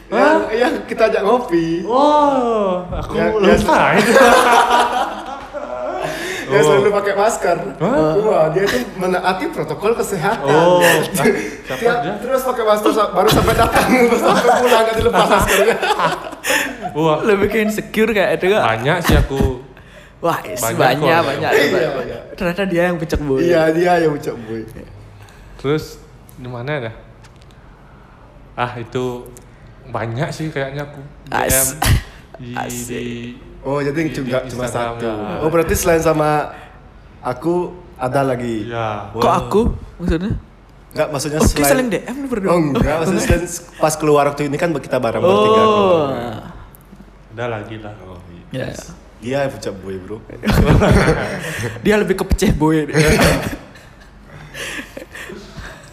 [SPEAKER 3] Yang, yang kita ajak ngopi,
[SPEAKER 2] Oh, aku
[SPEAKER 3] Ya, ya.
[SPEAKER 2] lupa itu.
[SPEAKER 3] yang
[SPEAKER 2] Oh.
[SPEAKER 3] selalu pakai masker. Wah, dia tuh menaati protokol kesehatan.
[SPEAKER 2] Oh, ah,
[SPEAKER 3] Tiap-
[SPEAKER 2] siapa dia?
[SPEAKER 3] terus pakai masker sa- baru sampai datang, baru sampai pulang nggak dilepas
[SPEAKER 2] Iya.
[SPEAKER 3] maskernya.
[SPEAKER 2] Wah,
[SPEAKER 1] lebih ke insecure kayak itu gak?
[SPEAKER 2] banyak sih aku.
[SPEAKER 1] Wah, is,
[SPEAKER 2] Banyak
[SPEAKER 1] banyak banyak,
[SPEAKER 2] kok.
[SPEAKER 1] banyak,
[SPEAKER 3] Iya,
[SPEAKER 1] banyak.
[SPEAKER 3] banyak.
[SPEAKER 1] Ternyata dia yang pecek boy.
[SPEAKER 3] Iya dia yang ucap boy.
[SPEAKER 2] Terus di mana ya? Ah, itu banyak sih kayaknya aku. DM
[SPEAKER 1] As-
[SPEAKER 2] di,
[SPEAKER 1] asik.
[SPEAKER 2] di
[SPEAKER 3] Oh jadi
[SPEAKER 2] Iya, Di-
[SPEAKER 3] cuma
[SPEAKER 2] di
[SPEAKER 3] cuma
[SPEAKER 2] Instagram,
[SPEAKER 3] satu.
[SPEAKER 2] ya.
[SPEAKER 3] Oh berarti selain sama aku ada lagi.
[SPEAKER 2] ya.
[SPEAKER 1] Kok aku maksudnya?
[SPEAKER 3] Enggak maksudnya
[SPEAKER 1] Oh, kita saling
[SPEAKER 3] Eh, selain.
[SPEAKER 1] DM nih berdua.
[SPEAKER 3] Oh enggak, maksudnya selain pas keluar waktu ini kan kita bareng bertiga.
[SPEAKER 1] Oh.
[SPEAKER 2] Udah lagi lah.
[SPEAKER 1] Ya.
[SPEAKER 3] Dia yang ucap boy Iya, bro.
[SPEAKER 1] Dia lebih ke peceh boy.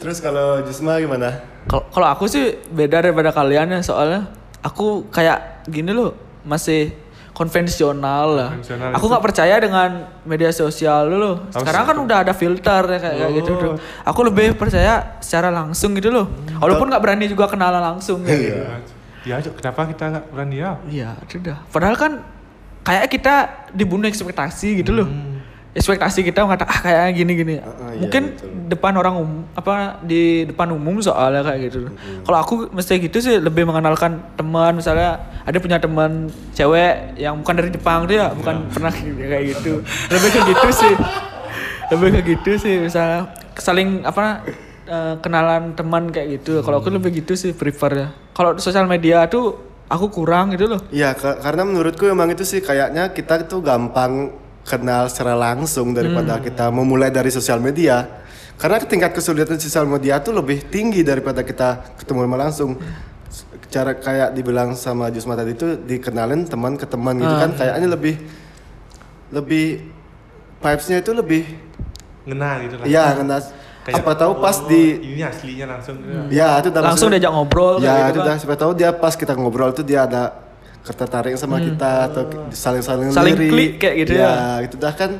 [SPEAKER 3] Terus kalau Jusma gimana?
[SPEAKER 1] Kalau kalau aku sih beda daripada kalian ya soalnya aku kayak gini loh masih konvensional lah.
[SPEAKER 2] Konvensional
[SPEAKER 1] aku
[SPEAKER 2] itu.
[SPEAKER 1] nggak percaya dengan media sosial
[SPEAKER 3] Oh,
[SPEAKER 1] dulu.
[SPEAKER 2] Harus
[SPEAKER 1] Sekarang kan
[SPEAKER 2] itu.
[SPEAKER 1] udah ada filter ya kayak kayak gitu. Bro. Aku lebih percaya secara langsung gitu loh. Walaupun nggak berani juga kenalan langsung. ya.
[SPEAKER 3] Hmm. Iya.
[SPEAKER 2] Diajak kenapa kita nggak berani ya?
[SPEAKER 1] Iya, sudah. Padahal kan kayak kita dibunuh ekspektasi gitu loh. Ekspektasi kita mengatakan ah kayaknya gini-gini.
[SPEAKER 3] Hmm. Ah, ah, iya,
[SPEAKER 1] Mungkin
[SPEAKER 3] betul.
[SPEAKER 1] depan orang umum apa di depan umum soalnya kayak gitu.
[SPEAKER 3] Mm-hmm.
[SPEAKER 1] Kalau aku mesti gitu sih lebih mengenalkan teman misalnya ada punya teman cewek yang bukan dari Jepang dia
[SPEAKER 3] Iya.
[SPEAKER 1] bukan pernah kayak gitu. Lebih ke gitu sih. Lebih ke gitu sih misalnya saling apa eh, kenalan teman kayak gitu. Kalau aku
[SPEAKER 3] Mm-hmm.
[SPEAKER 1] lebih gitu sih prefer ya. Kalau sosial media tuh aku kurang gitu loh.
[SPEAKER 3] Iya, ka- karena menurutku emang itu sih kayaknya kita tuh gampang kenal secara langsung daripada kita memulai dari sosial media. Karena tingkat kesulitan sosial media tuh lebih tinggi daripada kita ketemu sama langsung. S- Cara kayak dibilang sama Jusma tadi itu dikenalin teman ke teman gitu kan kayaknya lebih lebih vibes-nya itu lebih
[SPEAKER 2] Ngena gitu lah.
[SPEAKER 3] ya karena
[SPEAKER 2] Kayak,
[SPEAKER 3] apa tahu pas
[SPEAKER 2] oh,
[SPEAKER 3] di
[SPEAKER 2] ini aslinya langsung. gitu.
[SPEAKER 3] ya itu udah
[SPEAKER 1] langsung
[SPEAKER 3] maksudnya-
[SPEAKER 1] diajak ngobrol kayak
[SPEAKER 3] Ya
[SPEAKER 1] gitu
[SPEAKER 3] itu
[SPEAKER 1] kan.
[SPEAKER 3] dah siapa tahu dia pas kita ngobrol tuh dia ada ketertarikan sama kita atau saling-saling
[SPEAKER 1] Hmm. Saling
[SPEAKER 3] lirik.
[SPEAKER 1] klik kayak gitu
[SPEAKER 3] ya. itu dah kan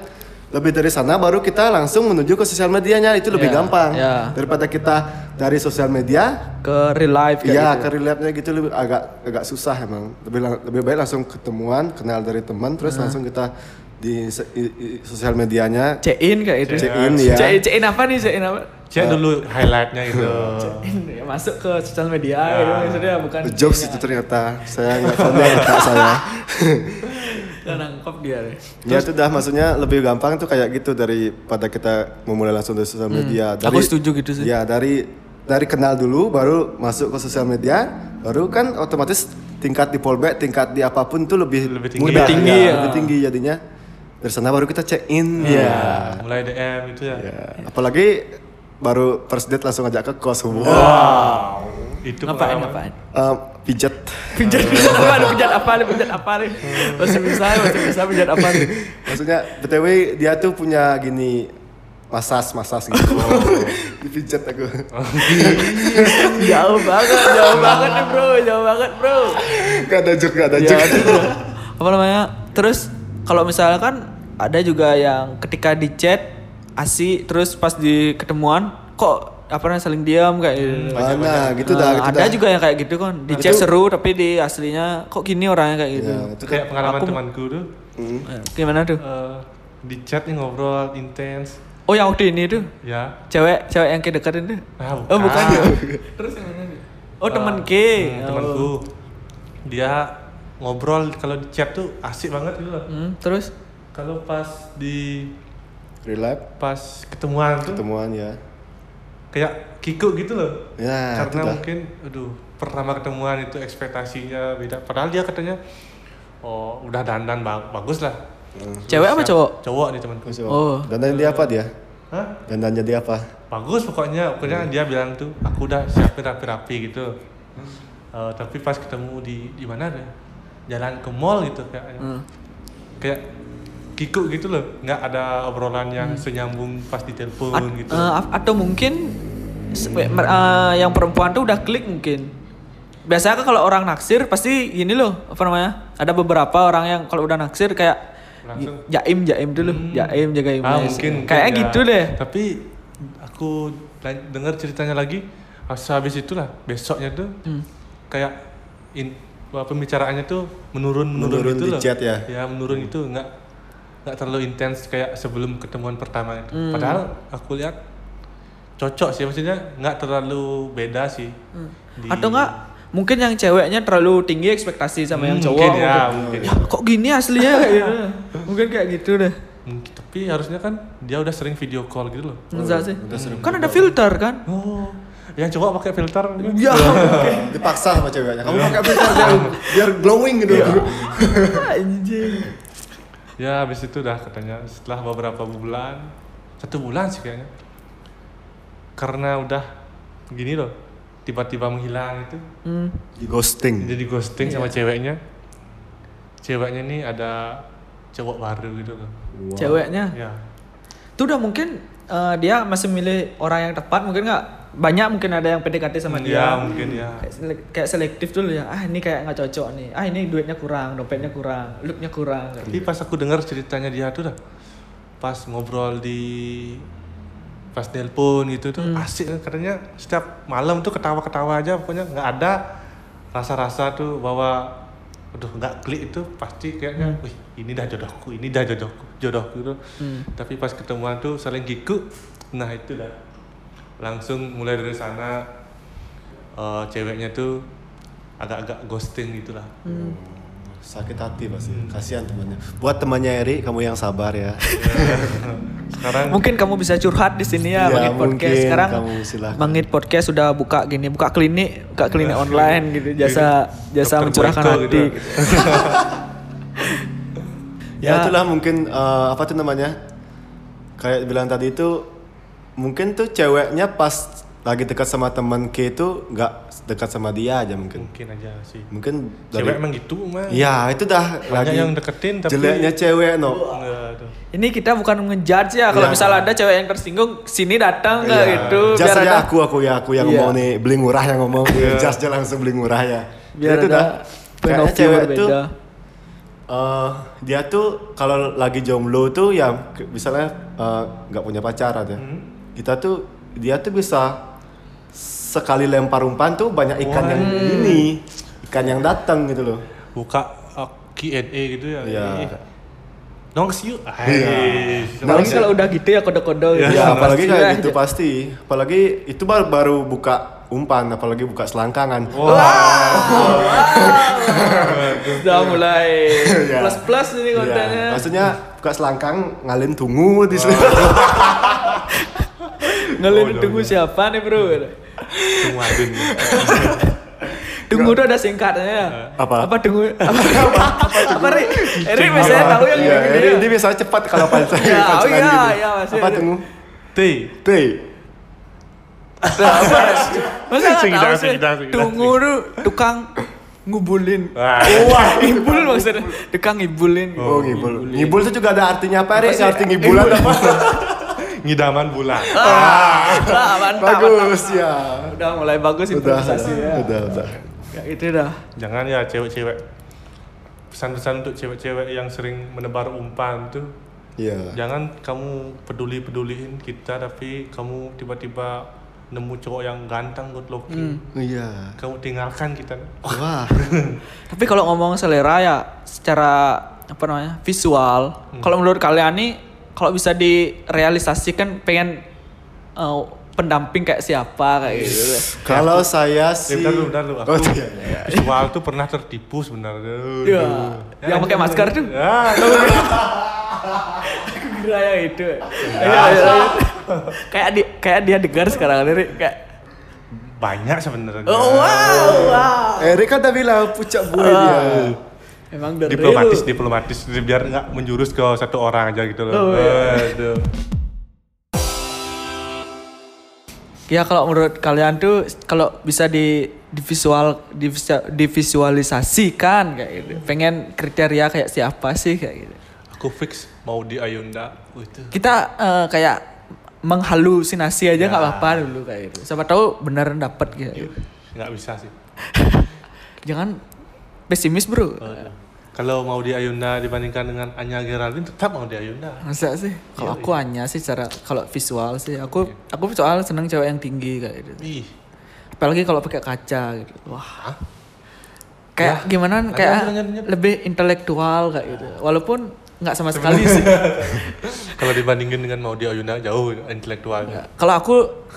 [SPEAKER 3] lebih dari sana baru kita langsung menuju ke sosial medianya itu lebih
[SPEAKER 1] Ya,
[SPEAKER 3] gampang
[SPEAKER 1] ya.
[SPEAKER 3] daripada kita dari sosial media
[SPEAKER 1] ke real life kayak
[SPEAKER 3] Iya,
[SPEAKER 1] gitu.
[SPEAKER 3] ke relate-nya gitu lebih agak agak susah emang. Lebih lang- lebih baik langsung ketemuan, kenal dari teman, terus
[SPEAKER 1] Nah.
[SPEAKER 3] langsung kita di se- i- i- sosial medianya
[SPEAKER 1] Cein kayak gitu.
[SPEAKER 3] Check-in, ya.
[SPEAKER 1] Cein, cein apa nih? Cein apa?
[SPEAKER 2] Cek dulu highlightnya gitu.
[SPEAKER 1] Ya, Masuk ke sosial media gitu maksudnya bukan
[SPEAKER 3] jokes gitu. itu ternyata saya nggak pandai otak saya.
[SPEAKER 1] Nggak nangkep dia. deh.
[SPEAKER 3] Ya itu dah maksudnya lebih gampang tuh kayak gitu daripada kita memulai langsung dari sosial media. Dari,
[SPEAKER 1] Hmm. Aku setuju gitu sih.
[SPEAKER 3] Ya dari dari kenal dulu baru masuk ke sosial media, baru kan otomatis tingkat di fallback, tingkat di apapun tuh lebih
[SPEAKER 2] Lebih tinggi.
[SPEAKER 3] mudah,
[SPEAKER 1] Lebih tinggi,
[SPEAKER 3] ya,
[SPEAKER 1] ya.
[SPEAKER 3] lebih tinggi jadinya.
[SPEAKER 2] Iya.
[SPEAKER 3] Dari sana baru kita check in. Iya.
[SPEAKER 2] Mulai DM itu ya.
[SPEAKER 3] Ya, Apalagi baru first date langsung ajak ke kos. Wow.
[SPEAKER 2] Itu
[SPEAKER 1] ngapain
[SPEAKER 2] pengalaman.
[SPEAKER 1] ngapain
[SPEAKER 3] Eh, pijat.
[SPEAKER 1] pijat pijat apa ada pijat apa ada pijat apa nih masih bisa masih bisa pijat apa nih
[SPEAKER 3] Maksudnya btw dia tuh punya gini masas masas gitu. Dipijat aku.
[SPEAKER 1] jauh banget jauh banget nih bro jauh banget bro
[SPEAKER 3] gak ada joke, gak ada
[SPEAKER 1] Ya,
[SPEAKER 3] joke.
[SPEAKER 1] aduh, bro. apa namanya terus kalau misalkan ada juga yang ketika di chat asik terus pas di ketemuan kok apa namanya saling diam kayak gitu.
[SPEAKER 3] Ah, nah, gitu
[SPEAKER 1] Nah,
[SPEAKER 3] dah, gitu
[SPEAKER 1] ada
[SPEAKER 3] dah. Nah,
[SPEAKER 1] juga yang kayak gitu kan di chat seru tapi di aslinya kok gini orangnya kayak gitu
[SPEAKER 3] Ya, itu kan
[SPEAKER 2] Kayak pengalaman
[SPEAKER 1] Aku-
[SPEAKER 2] temanku tuh
[SPEAKER 1] Eh, gimana tuh
[SPEAKER 2] eh, di chat nih ngobrol intens
[SPEAKER 1] oh yang waktu ini tuh
[SPEAKER 2] ya
[SPEAKER 1] cewek cewek yang ke deketin tuh
[SPEAKER 2] Ah,
[SPEAKER 1] oh bukan
[SPEAKER 2] bukan.
[SPEAKER 1] ya terus yang mana nih oh teman
[SPEAKER 2] Eh,
[SPEAKER 1] K
[SPEAKER 2] hmm,
[SPEAKER 1] Oh.
[SPEAKER 2] temanku dia ngobrol kalau di chat tuh asik banget gitu loh
[SPEAKER 1] Hmm, terus
[SPEAKER 2] kalau pas di
[SPEAKER 3] relap
[SPEAKER 2] pas ketemuan tuh
[SPEAKER 3] ketemuan ya.
[SPEAKER 2] kayak kikuk gitu loh
[SPEAKER 3] Ya,
[SPEAKER 2] karena
[SPEAKER 3] itu dah.
[SPEAKER 2] mungkin aduh pertama ketemuan itu ekspektasinya beda padahal dia katanya oh udah dandan ba- bagus lah
[SPEAKER 1] Cewek apa
[SPEAKER 2] Siap-
[SPEAKER 1] cowok?
[SPEAKER 2] cowok nih temanku
[SPEAKER 3] Terus,
[SPEAKER 1] Oh.
[SPEAKER 3] Dandan dia apa dia?
[SPEAKER 2] Hah?
[SPEAKER 3] Dandan jadi apa?
[SPEAKER 2] bagus pokoknya pokoknya dia bilang tuh aku udah siapin rapi-rapi gitu Eh, tapi pas ketemu di di mana deh jalan ke mall gitu kayak
[SPEAKER 1] Hmm.
[SPEAKER 2] kayak kikuk gitu loh nggak ada obrolan yang senyambung pas di telepon
[SPEAKER 1] At-
[SPEAKER 2] gitu
[SPEAKER 1] eh, ap- atau mungkin se- me- mer- eh, yang perempuan tuh udah klik mungkin biasanya kan kalau orang naksir pasti gini loh apa namanya ada beberapa orang yang kalau udah naksir kayak
[SPEAKER 2] Langsung.
[SPEAKER 1] j- jaim jaim dulu jaim jaga image
[SPEAKER 2] ah mungkin
[SPEAKER 1] kayaknya
[SPEAKER 2] mungkin ya.
[SPEAKER 1] gitu deh
[SPEAKER 2] tapi aku lan- dengar ceritanya lagi habis habis itulah besoknya tuh
[SPEAKER 1] Hmm.
[SPEAKER 2] kayak in- wah, pembicaraannya tuh menurun menurun,
[SPEAKER 3] Menurun
[SPEAKER 2] gitu
[SPEAKER 3] di
[SPEAKER 2] loh
[SPEAKER 3] chat ya?
[SPEAKER 2] menurun itu nggak nggak terlalu intens kayak sebelum ketemuan pertama itu
[SPEAKER 1] Hmm.
[SPEAKER 2] padahal aku lihat cocok sih maksudnya nggak terlalu beda sih Di-
[SPEAKER 1] Hmm. atau enggak mungkin yang ceweweknya terlalu tinggi ekspektasi sama yang
[SPEAKER 2] Hmm,
[SPEAKER 1] cowok
[SPEAKER 2] mungkin ya, mungkin.
[SPEAKER 1] Ya, kok gini aslinya kayak gitu. mungkin kayak gitu deh
[SPEAKER 2] Mungkin, tapi harusnya kan dia udah sering video call gitu loh
[SPEAKER 1] Enggak sih kan ada filter kan
[SPEAKER 2] oh yang cowok pakai filter
[SPEAKER 1] ya
[SPEAKER 3] Dipaksa sama ceweknya. Kamu pakai filter biar, biar glowing gitu.
[SPEAKER 1] Ya. anjing
[SPEAKER 2] Ya habis itu dah katanya setelah beberapa bulan satu bulan sih kayaknya karena udah gini loh tiba-tiba menghilang itu
[SPEAKER 1] Hmm.
[SPEAKER 3] Di ghosting.
[SPEAKER 2] jadi ghosting sama ceweknya ceweknya nih ada cowok baru gitu loh
[SPEAKER 1] ceweknya
[SPEAKER 2] ya
[SPEAKER 1] Itu udah mungkin eh, dia masih milih orang yang tepat mungkin nggak banyak mungkin ada yang PDKT sama
[SPEAKER 2] Hmm,
[SPEAKER 1] dia.
[SPEAKER 2] ya, mungkin, ya.
[SPEAKER 1] Kayak, selek- kayak selektif dulu ya. Ah ini kayak nggak cocok nih. Ah ini duitnya kurang, dompetnya kurang, looknya kurang.
[SPEAKER 2] tapi pas aku dengar ceritanya dia tuh dah pas ngobrol di pas telepon gitu tuh asik katanya setiap malam tuh ketawa-ketawa aja pokoknya nggak ada rasa-rasa tuh bahwa aduh nggak klik itu pasti kayaknya wih ini dah jodohku ini dah jodohku jodohku gitu tapi pas ketemuan tuh saling giku nah itu dah langsung mulai dari sana eh, ceweknya tuh agak-agak ghosting gitu gitulah
[SPEAKER 3] Sakit hati pasti. Kasihan temannya. Buat temannya Eri, kamu yang sabar ya.
[SPEAKER 2] sekarang
[SPEAKER 1] Mungkin kamu bisa curhat di sini ya, Bangit
[SPEAKER 3] Iya,
[SPEAKER 1] Podcast.
[SPEAKER 3] mungkin
[SPEAKER 1] Sekarang
[SPEAKER 3] kamu silahkan.
[SPEAKER 1] Bangit Podcast sudah buka gini, buka klinik, buka klinik online gitu. Jasa jasa
[SPEAKER 2] Iya, Dokter
[SPEAKER 1] mencurahkan
[SPEAKER 2] Boyko
[SPEAKER 1] hati.
[SPEAKER 2] gitu.
[SPEAKER 3] ya,
[SPEAKER 1] Ya.
[SPEAKER 3] itulah mungkin eh, apa tuh namanya? Kayak bilang tadi itu mungkin tuh ceweknya pas lagi dekat sama teman K itu nggak dekat sama dia aja mungkin.
[SPEAKER 2] mungkin aja sih
[SPEAKER 3] Mungkin
[SPEAKER 2] cewek
[SPEAKER 3] dari
[SPEAKER 2] emang gitu mah
[SPEAKER 1] Iya.
[SPEAKER 3] Ya, itu dah
[SPEAKER 2] Banyak yang deketin, tapi-
[SPEAKER 3] jeleknya cewek no.
[SPEAKER 2] Enggak, aduh.
[SPEAKER 1] Ini kita bukan ngejudge ya. Kalau
[SPEAKER 3] Iya.
[SPEAKER 1] misalnya ada cewek yang tersinggung, sini datang nggak
[SPEAKER 3] Iya.
[SPEAKER 1] gitu.
[SPEAKER 3] Jas
[SPEAKER 1] biar
[SPEAKER 3] aja
[SPEAKER 1] ada
[SPEAKER 3] aku aku ya aku yang
[SPEAKER 1] Iya.
[SPEAKER 3] ngomong nih beli murah yang ngomong.
[SPEAKER 2] Iya.
[SPEAKER 3] Jas aja langsung beli murah ya.
[SPEAKER 1] biar
[SPEAKER 3] itu
[SPEAKER 1] ada
[SPEAKER 3] dah.
[SPEAKER 1] point of
[SPEAKER 3] Kayaknya
[SPEAKER 1] view
[SPEAKER 3] cewek
[SPEAKER 1] berbeda.
[SPEAKER 3] tuh eh, dia tuh kalau lagi jomblo tuh ya ke- misalnya eh, nggak punya pacar aja.
[SPEAKER 2] Hmm.
[SPEAKER 3] Kita tuh dia tuh bisa sekali lempar umpan tuh banyak ikan yang ini ikan yang datang gitu loh.
[SPEAKER 2] buka uh, Q&A gitu ya
[SPEAKER 3] Iya.
[SPEAKER 2] Eh, nongs yuk
[SPEAKER 3] Iya.
[SPEAKER 2] Hai.
[SPEAKER 1] Apalagi kalau udah gitu ya kode-kode
[SPEAKER 3] Ya,
[SPEAKER 1] gitu.
[SPEAKER 3] apalagi
[SPEAKER 1] Pasti lah.
[SPEAKER 3] kayak gitu pasti. Apalagi itu baru baru buka umpan, apalagi buka selangkangan.
[SPEAKER 1] Udah mulai
[SPEAKER 3] Iya.
[SPEAKER 1] plus-plus ini
[SPEAKER 3] Iya,
[SPEAKER 1] kontennya.
[SPEAKER 3] Maksudnya buka selangkang ngalin tunggu di sini. Oh,
[SPEAKER 1] Ngelin
[SPEAKER 3] iya,
[SPEAKER 1] tunggu siapa nih, Bro?
[SPEAKER 2] Semua adun.
[SPEAKER 1] Tunggu tuh ada singkatnya.
[SPEAKER 3] Apa?
[SPEAKER 1] Apa tunggu? Apa? Apa, Ri? Ri biasanya tahu yang
[SPEAKER 3] Iya,
[SPEAKER 1] gitu-gitu
[SPEAKER 3] ini,
[SPEAKER 1] ya.
[SPEAKER 3] ini biasanya cepat kalau pancing.
[SPEAKER 1] Ya, oh
[SPEAKER 3] pancingan
[SPEAKER 1] iya,
[SPEAKER 3] gitu.
[SPEAKER 1] iya, masih
[SPEAKER 3] Apa
[SPEAKER 1] ada.
[SPEAKER 3] tunggu?
[SPEAKER 2] T
[SPEAKER 3] T.
[SPEAKER 1] Lah, apa? Masa nggak
[SPEAKER 2] Sing
[SPEAKER 1] tahu
[SPEAKER 2] dang,
[SPEAKER 1] sih?
[SPEAKER 2] sing dang, sing dang,
[SPEAKER 1] Tungu tuh tukang ngubulin.
[SPEAKER 2] Wah.
[SPEAKER 1] Wah, ngibul maksudnya. Tukang ngibulin.
[SPEAKER 3] Oh, ngibul. Ngibul itu juga ada artinya apa, Rik? Arti ngibulan apa?
[SPEAKER 2] Ngidaman bulan.
[SPEAKER 1] Lah, mantap. mantap.
[SPEAKER 3] Bagus ya.
[SPEAKER 1] Udah mulai bagus
[SPEAKER 3] Udah,
[SPEAKER 1] improvisasi ya.
[SPEAKER 3] udah, udah.
[SPEAKER 1] Ya itu dah.
[SPEAKER 2] Jangan ya cewek-cewek. Pesan-pesan untuk cewek-cewek yang sering menebar umpan tuh.
[SPEAKER 3] Iya.
[SPEAKER 2] Jangan kamu peduli-peduliin kita tapi kamu tiba-tiba nemu cowok yang ganteng good looking.
[SPEAKER 3] Iya.
[SPEAKER 2] Kamu tinggalkan kita.
[SPEAKER 3] Wah.
[SPEAKER 1] Tapi kalau ngomong selera ya secara apa namanya visual. Kalau menurut kalian nih, kalau bisa direalisasikan pengen eh, pendamping kayak siapa kayak gitu.
[SPEAKER 3] Kalau saya
[SPEAKER 2] Eh,
[SPEAKER 3] sih.
[SPEAKER 2] bentar dulu, bentar dulu. Aku
[SPEAKER 3] Oh, iya, iya.
[SPEAKER 2] visual tuh pernah tertipu sebenarnya. Aduh.
[SPEAKER 1] Iya. Yang pakai masker tuh.
[SPEAKER 2] Ah, tahu.
[SPEAKER 1] Kira ya itu. Ayo, ayo, ayo. kayak di kayak dia dengar sekarang lirik kayak
[SPEAKER 2] Banyak sebenarnya.
[SPEAKER 1] oh, wow wow.
[SPEAKER 3] Erik kan tadi bilang pucak gue dia.
[SPEAKER 2] Ah.
[SPEAKER 1] Emang dari
[SPEAKER 2] diplomatis diplomatis biar nggak menjurus ke satu orang aja gitu
[SPEAKER 1] Oh,
[SPEAKER 2] loh.
[SPEAKER 1] iya.
[SPEAKER 2] Aduh.
[SPEAKER 1] Ya kalau menurut kalian tuh kalau bisa di divisual divisa- divisualisasikan kayak gitu. Pengen kriteria kayak siapa sih kayak gitu.
[SPEAKER 2] Aku fix mau di Ayunda itu.
[SPEAKER 1] Kita eh, kayak menghalusinasi aja nggak apa-apa dulu kayak gitu. Siapa tahu beneran dapet kayak gitu.
[SPEAKER 2] Nggak bisa sih.
[SPEAKER 1] Jangan pesimis, Bro.
[SPEAKER 2] Kalau mau di Ayunda dibandingkan dengan Anya Geraldine tetap mau di Ayunda.
[SPEAKER 1] Masa sih? Kalau aku hanya sih cara kalau visual sih aku aku soal seneng cewek yang tinggi kayak gitu.
[SPEAKER 2] Ih,
[SPEAKER 1] Apalagi kalau pakai kaca gitu. Wah. Kayak gimana kayak
[SPEAKER 2] lanjut, lanjut, lanjut.
[SPEAKER 1] lebih intelektual kayak gitu. Walaupun nggak sama sekali sih.
[SPEAKER 2] kalau dibandingin dengan mau di Ayunda jauh intelektualnya.
[SPEAKER 1] Kalau aku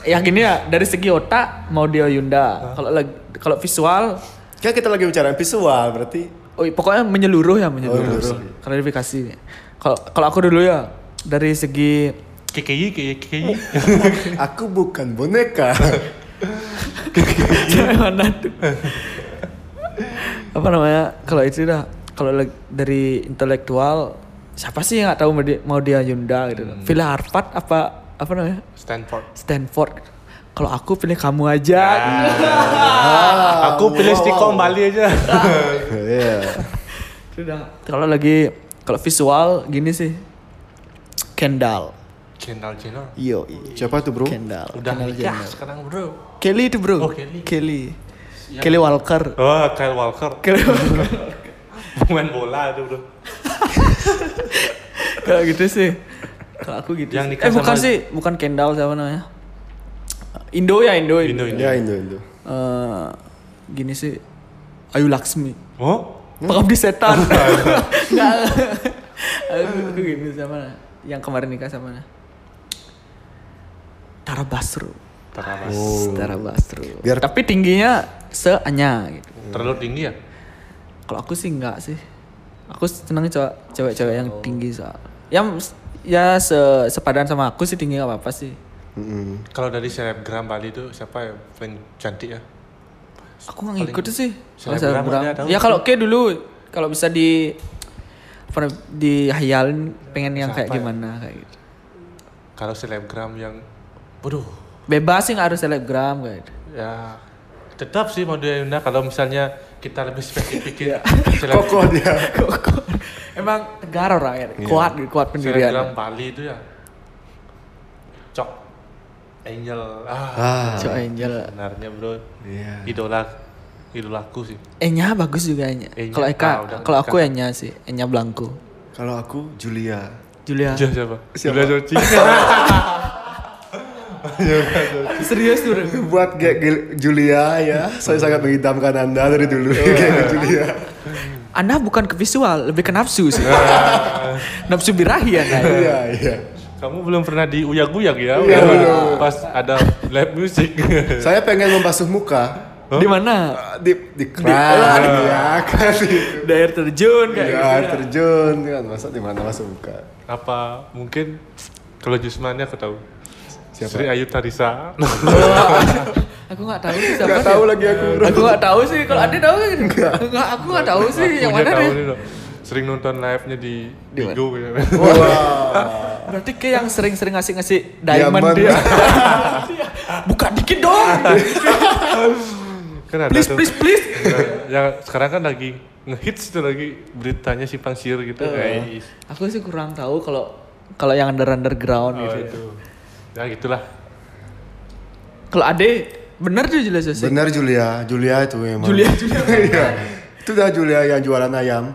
[SPEAKER 1] yang gini ya dari segi otak mau dia Yunda. Kalau lag- kalau visual
[SPEAKER 3] Kan kita lagi bicara visual berarti.
[SPEAKER 1] oh, pokoknya menyeluruh ya menyeluruh.
[SPEAKER 3] menyeluruh.
[SPEAKER 1] Klarifikasi. Kalau kalau aku dulu ya dari segi
[SPEAKER 2] KKI, KKI, KKI.
[SPEAKER 1] Oh.
[SPEAKER 3] Aku bukan boneka.
[SPEAKER 1] cewek mana tuh apa namanya kalau itu dah kalau leg- dari intelektual siapa sih yang nggak tahu mau dia, mau dia Yunda gitu
[SPEAKER 2] Hmm.
[SPEAKER 1] loh. pilih Harvard apa apa namanya
[SPEAKER 2] Stanford.
[SPEAKER 1] Stanford kalau aku pilih kamu aja
[SPEAKER 2] Ah.
[SPEAKER 1] Ah,
[SPEAKER 2] Aku pilih Stikom Bali aja.
[SPEAKER 3] Iya.
[SPEAKER 1] Gitu dah. kalau lagi kalau visual gini sih Kendall
[SPEAKER 2] Channel channel.
[SPEAKER 3] Yo, siapa tuh bro?
[SPEAKER 1] Kendall
[SPEAKER 2] Udah
[SPEAKER 1] Kendall
[SPEAKER 2] nikah
[SPEAKER 1] Jenner.
[SPEAKER 2] sekarang bro.
[SPEAKER 1] Kelly itu bro
[SPEAKER 2] Oh, Kelly.
[SPEAKER 1] Kelly Kelly Walker
[SPEAKER 2] Oh, Kyle Walker.
[SPEAKER 1] Kelly Walker
[SPEAKER 2] Main bola itu bro.
[SPEAKER 1] Kalau gitu sih. Kalau aku gitu.
[SPEAKER 2] Yang
[SPEAKER 1] sih.
[SPEAKER 2] nikah
[SPEAKER 1] eh bukan
[SPEAKER 2] sama-
[SPEAKER 1] sih, bukan Kendall siapa namanya? Indo ya Indo. Indo.
[SPEAKER 2] Indo Indo.
[SPEAKER 3] Ya Indo Indo.
[SPEAKER 1] Eh, gini sih. Ayu Laksmi.
[SPEAKER 2] Oh,
[SPEAKER 1] Pengabdi setan. Enggak. aku, aku gini sama yang kemarin nikah sama mana? Tara Basro.
[SPEAKER 2] terlalu
[SPEAKER 1] Tara Basro.
[SPEAKER 3] Biar-
[SPEAKER 1] Tapi tingginya seanya gitu.
[SPEAKER 2] terlalu tinggi ya.
[SPEAKER 1] Kalau aku sih enggak sih. Aku seneng cowok- cewek-cewek yang tinggi soal. Yang ya se- sepadan sama aku sih tinggi gak apa-apa sih. Hmm.
[SPEAKER 3] Mm-mm.
[SPEAKER 2] Kalau dari selebgram Bali itu siapa yang paling cantik ya?
[SPEAKER 1] Aku gak ngikut sih. Kalau
[SPEAKER 2] selebgram
[SPEAKER 1] selebgram.
[SPEAKER 2] ada, tahu.
[SPEAKER 1] Ya kalau K dulu kalau bisa di apa namanya, dihayalin pengen yang kayak
[SPEAKER 2] Siapa ya?
[SPEAKER 1] gimana kayak gitu.
[SPEAKER 2] Kalau selebgram yang, waduh,
[SPEAKER 1] Bebas sih gak harus selebgram kayak gitu.
[SPEAKER 2] ya tetap sih mau di Ayunda. Kalau misalnya kita lebih
[SPEAKER 1] Iya.
[SPEAKER 2] spesifikin seleb-
[SPEAKER 3] Kokoh dia.
[SPEAKER 1] Kokoh. Emang tegar orang ya. Kuat gitu, kuat
[SPEAKER 2] Iya. selebgram
[SPEAKER 1] pendirian.
[SPEAKER 2] Bali itu ya, cok, angel, ah,
[SPEAKER 3] Ah.
[SPEAKER 1] Cok Angel.
[SPEAKER 2] sebenarnya bro,
[SPEAKER 3] Iya.
[SPEAKER 2] idola, idolaku sih.
[SPEAKER 1] Enya bagus juga Enya.
[SPEAKER 2] Enya,
[SPEAKER 1] Kalau
[SPEAKER 2] ah,
[SPEAKER 1] Eka,
[SPEAKER 2] udah
[SPEAKER 1] kalau aku
[SPEAKER 2] Eka.
[SPEAKER 1] Enya sih, Enya Blanco.
[SPEAKER 3] Kalau aku Julia.
[SPEAKER 1] Julia.
[SPEAKER 2] Julia siapa?
[SPEAKER 3] Siapa?
[SPEAKER 2] Julia Joci.
[SPEAKER 1] Serius tuh. Bro.
[SPEAKER 3] Buat Ge- Ge- Julia ya, saya sangat mengidamkan Anda dari dulu.
[SPEAKER 1] Oh, iya.
[SPEAKER 3] Gek Julia.
[SPEAKER 1] Anda bukan ke visual, lebih ke nafsu sih. nafsu birahi ya
[SPEAKER 3] Iya, iya.
[SPEAKER 2] Kamu belum pernah di uyak-uyak ya?
[SPEAKER 3] Iya,
[SPEAKER 2] Pas-
[SPEAKER 3] belum.
[SPEAKER 2] Pas ada live music.
[SPEAKER 3] Saya pengen membasuh muka
[SPEAKER 1] Di mana?
[SPEAKER 3] di di keran, ya kan.
[SPEAKER 1] Di air terjun kayak
[SPEAKER 3] Ya,
[SPEAKER 1] gitu.
[SPEAKER 3] terjun kan masa di mana masuk muka.
[SPEAKER 2] apa mungkin kalau Jusmani aku tahu
[SPEAKER 3] Siapa?
[SPEAKER 2] Sri Ayu Tarisa
[SPEAKER 1] Aku nggak tahu sih siapa.
[SPEAKER 3] Gak
[SPEAKER 1] dia.
[SPEAKER 3] tahu lagi aku. bro.
[SPEAKER 1] Aku nggak tahu sih. Kalau ada tahu kan? Enggak, aku nggak tahu sih yang
[SPEAKER 2] Punya
[SPEAKER 1] mana
[SPEAKER 2] tahu
[SPEAKER 1] deh.
[SPEAKER 2] nih loh. sering nonton live-nya di
[SPEAKER 1] Di mana?
[SPEAKER 2] Bigo gitu.
[SPEAKER 3] Wah.
[SPEAKER 1] Berarti kayak yang sering-sering ngasih-ngasih diamond
[SPEAKER 3] Diamond.
[SPEAKER 1] dia. Bukan di dikit dong
[SPEAKER 2] Kan ada
[SPEAKER 1] please
[SPEAKER 2] tuh.
[SPEAKER 1] please please
[SPEAKER 2] Nah, yang sekarang kan lagi ngehits tuh lagi beritanya si Pangsir gitu
[SPEAKER 1] Oh, iya.
[SPEAKER 2] kayak is-
[SPEAKER 1] aku sih kurang tahu kalau kalau yang under underground
[SPEAKER 2] oh,
[SPEAKER 1] gitu
[SPEAKER 2] itu. Ya gitulah.
[SPEAKER 1] kalau Ade bener tuh jelas sih
[SPEAKER 3] Benar Julia, Julia itu memang.
[SPEAKER 1] Julia Julia
[SPEAKER 3] Iya. itu dah Julia yang jualan ayam.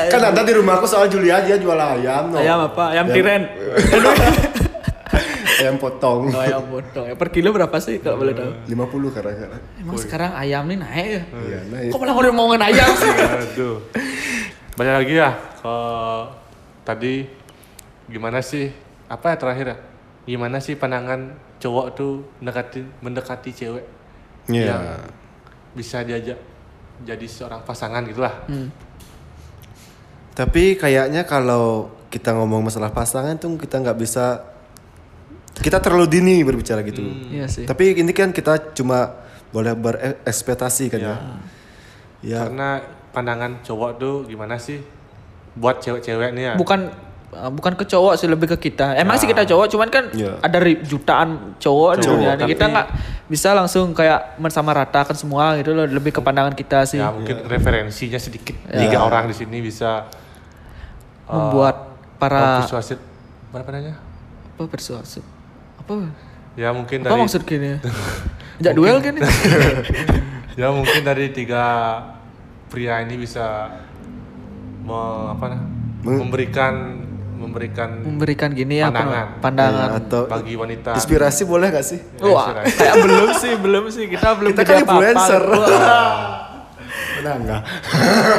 [SPEAKER 3] kan ada di rumahku soal Julia dia jual ayam. No.
[SPEAKER 1] ayam apa ayam tiren
[SPEAKER 3] Ayam potong.
[SPEAKER 1] oh, ayam potong ya, per kilo berapa sih kalau boleh tahu
[SPEAKER 3] 50 kadang-kadang.
[SPEAKER 1] emang sekarang ayam nih naik ya
[SPEAKER 3] Iya, nah
[SPEAKER 1] kok malah ngomongin ngomongin ayam sih
[SPEAKER 2] Aduh. Banyak lagi ya. Kalau tadi gimana sih? Apa ya terakhir ya? Gimana sih pandangan cowok tuh mendekati mendekati cewek
[SPEAKER 3] Iya.
[SPEAKER 2] yang bisa diajak jadi seorang pasangan gitulah.
[SPEAKER 3] Tapi kayaknya kalau kita ngomong masalah pasangan tuh kita nggak bisa kita terlalu dini berbicara gitu.
[SPEAKER 1] iya sih
[SPEAKER 3] Tapi ini kan kita cuma boleh berekspektasi kan
[SPEAKER 1] Iya.
[SPEAKER 3] ya. Ya,
[SPEAKER 2] Karena pandangan cowok tuh gimana sih buat cewek-cewek nih ya?
[SPEAKER 1] bukan uh, bukan ke cowok sih lebih ke kita emang sih kita cowok cuman kan
[SPEAKER 3] Ya.
[SPEAKER 1] ada ri- jutaan cowok, di
[SPEAKER 2] Iya. Cowok,
[SPEAKER 1] dunia ini. kita
[SPEAKER 2] tapi-
[SPEAKER 1] nggak bisa langsung kayak bersama ratakan semua gitu loh lebih ke pandangan kita sih
[SPEAKER 2] Ya mungkin referensinya sedikit. Tiga orang di sini bisa
[SPEAKER 1] membuat
[SPEAKER 2] uh,
[SPEAKER 1] para
[SPEAKER 2] persuasif apa namanya?
[SPEAKER 1] apa persuasif apa
[SPEAKER 2] Ya mungkin
[SPEAKER 1] apa
[SPEAKER 2] dari
[SPEAKER 1] maksud gini Ajak duel kan ini?
[SPEAKER 2] ya mungkin dari tiga pria ini bisa me- apa nah, memberikan memberikan
[SPEAKER 1] memberikan gini ya
[SPEAKER 2] Pandangan.
[SPEAKER 1] apa- pandangan
[SPEAKER 3] atau
[SPEAKER 2] bagi wanita
[SPEAKER 3] inspirasi boleh nggak sih?
[SPEAKER 1] Wah,
[SPEAKER 2] Inspirasi.
[SPEAKER 1] kayak belum sih, belum sih. Kita belum
[SPEAKER 3] Kita
[SPEAKER 1] jadi
[SPEAKER 3] kan
[SPEAKER 1] apa-apa.
[SPEAKER 3] influencer.
[SPEAKER 1] Wah,
[SPEAKER 3] Benar nggak?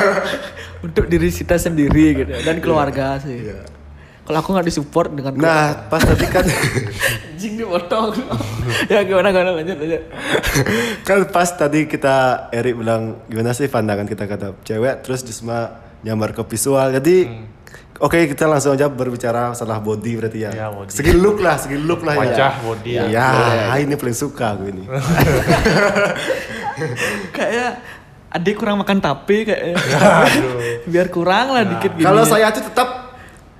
[SPEAKER 1] Untuk diri kita sendiri gitu dan keluarga sih. Kalau aku nggak disupport dengan
[SPEAKER 3] Iya. Nah, pas tadi kan
[SPEAKER 1] anjing dipotong. ya gimana gimana lanjut lanjut.
[SPEAKER 3] kan pas tadi kita Erik bilang gimana sih pandangan kita kata cewek terus Jusma nyamar ke visual. Jadi
[SPEAKER 2] Hmm.
[SPEAKER 3] oke kita langsung aja berbicara masalah body berarti ya.
[SPEAKER 2] Ya, body.
[SPEAKER 3] Segi look lah, segi look lah ya.
[SPEAKER 2] wajah body
[SPEAKER 3] Ya,
[SPEAKER 2] ya.
[SPEAKER 3] ini paling suka aku ini.
[SPEAKER 1] Kayak adik kurang makan tape kayaknya. Biar kurang lah dikit gini.
[SPEAKER 3] Nah. Kalau saya tuh tetap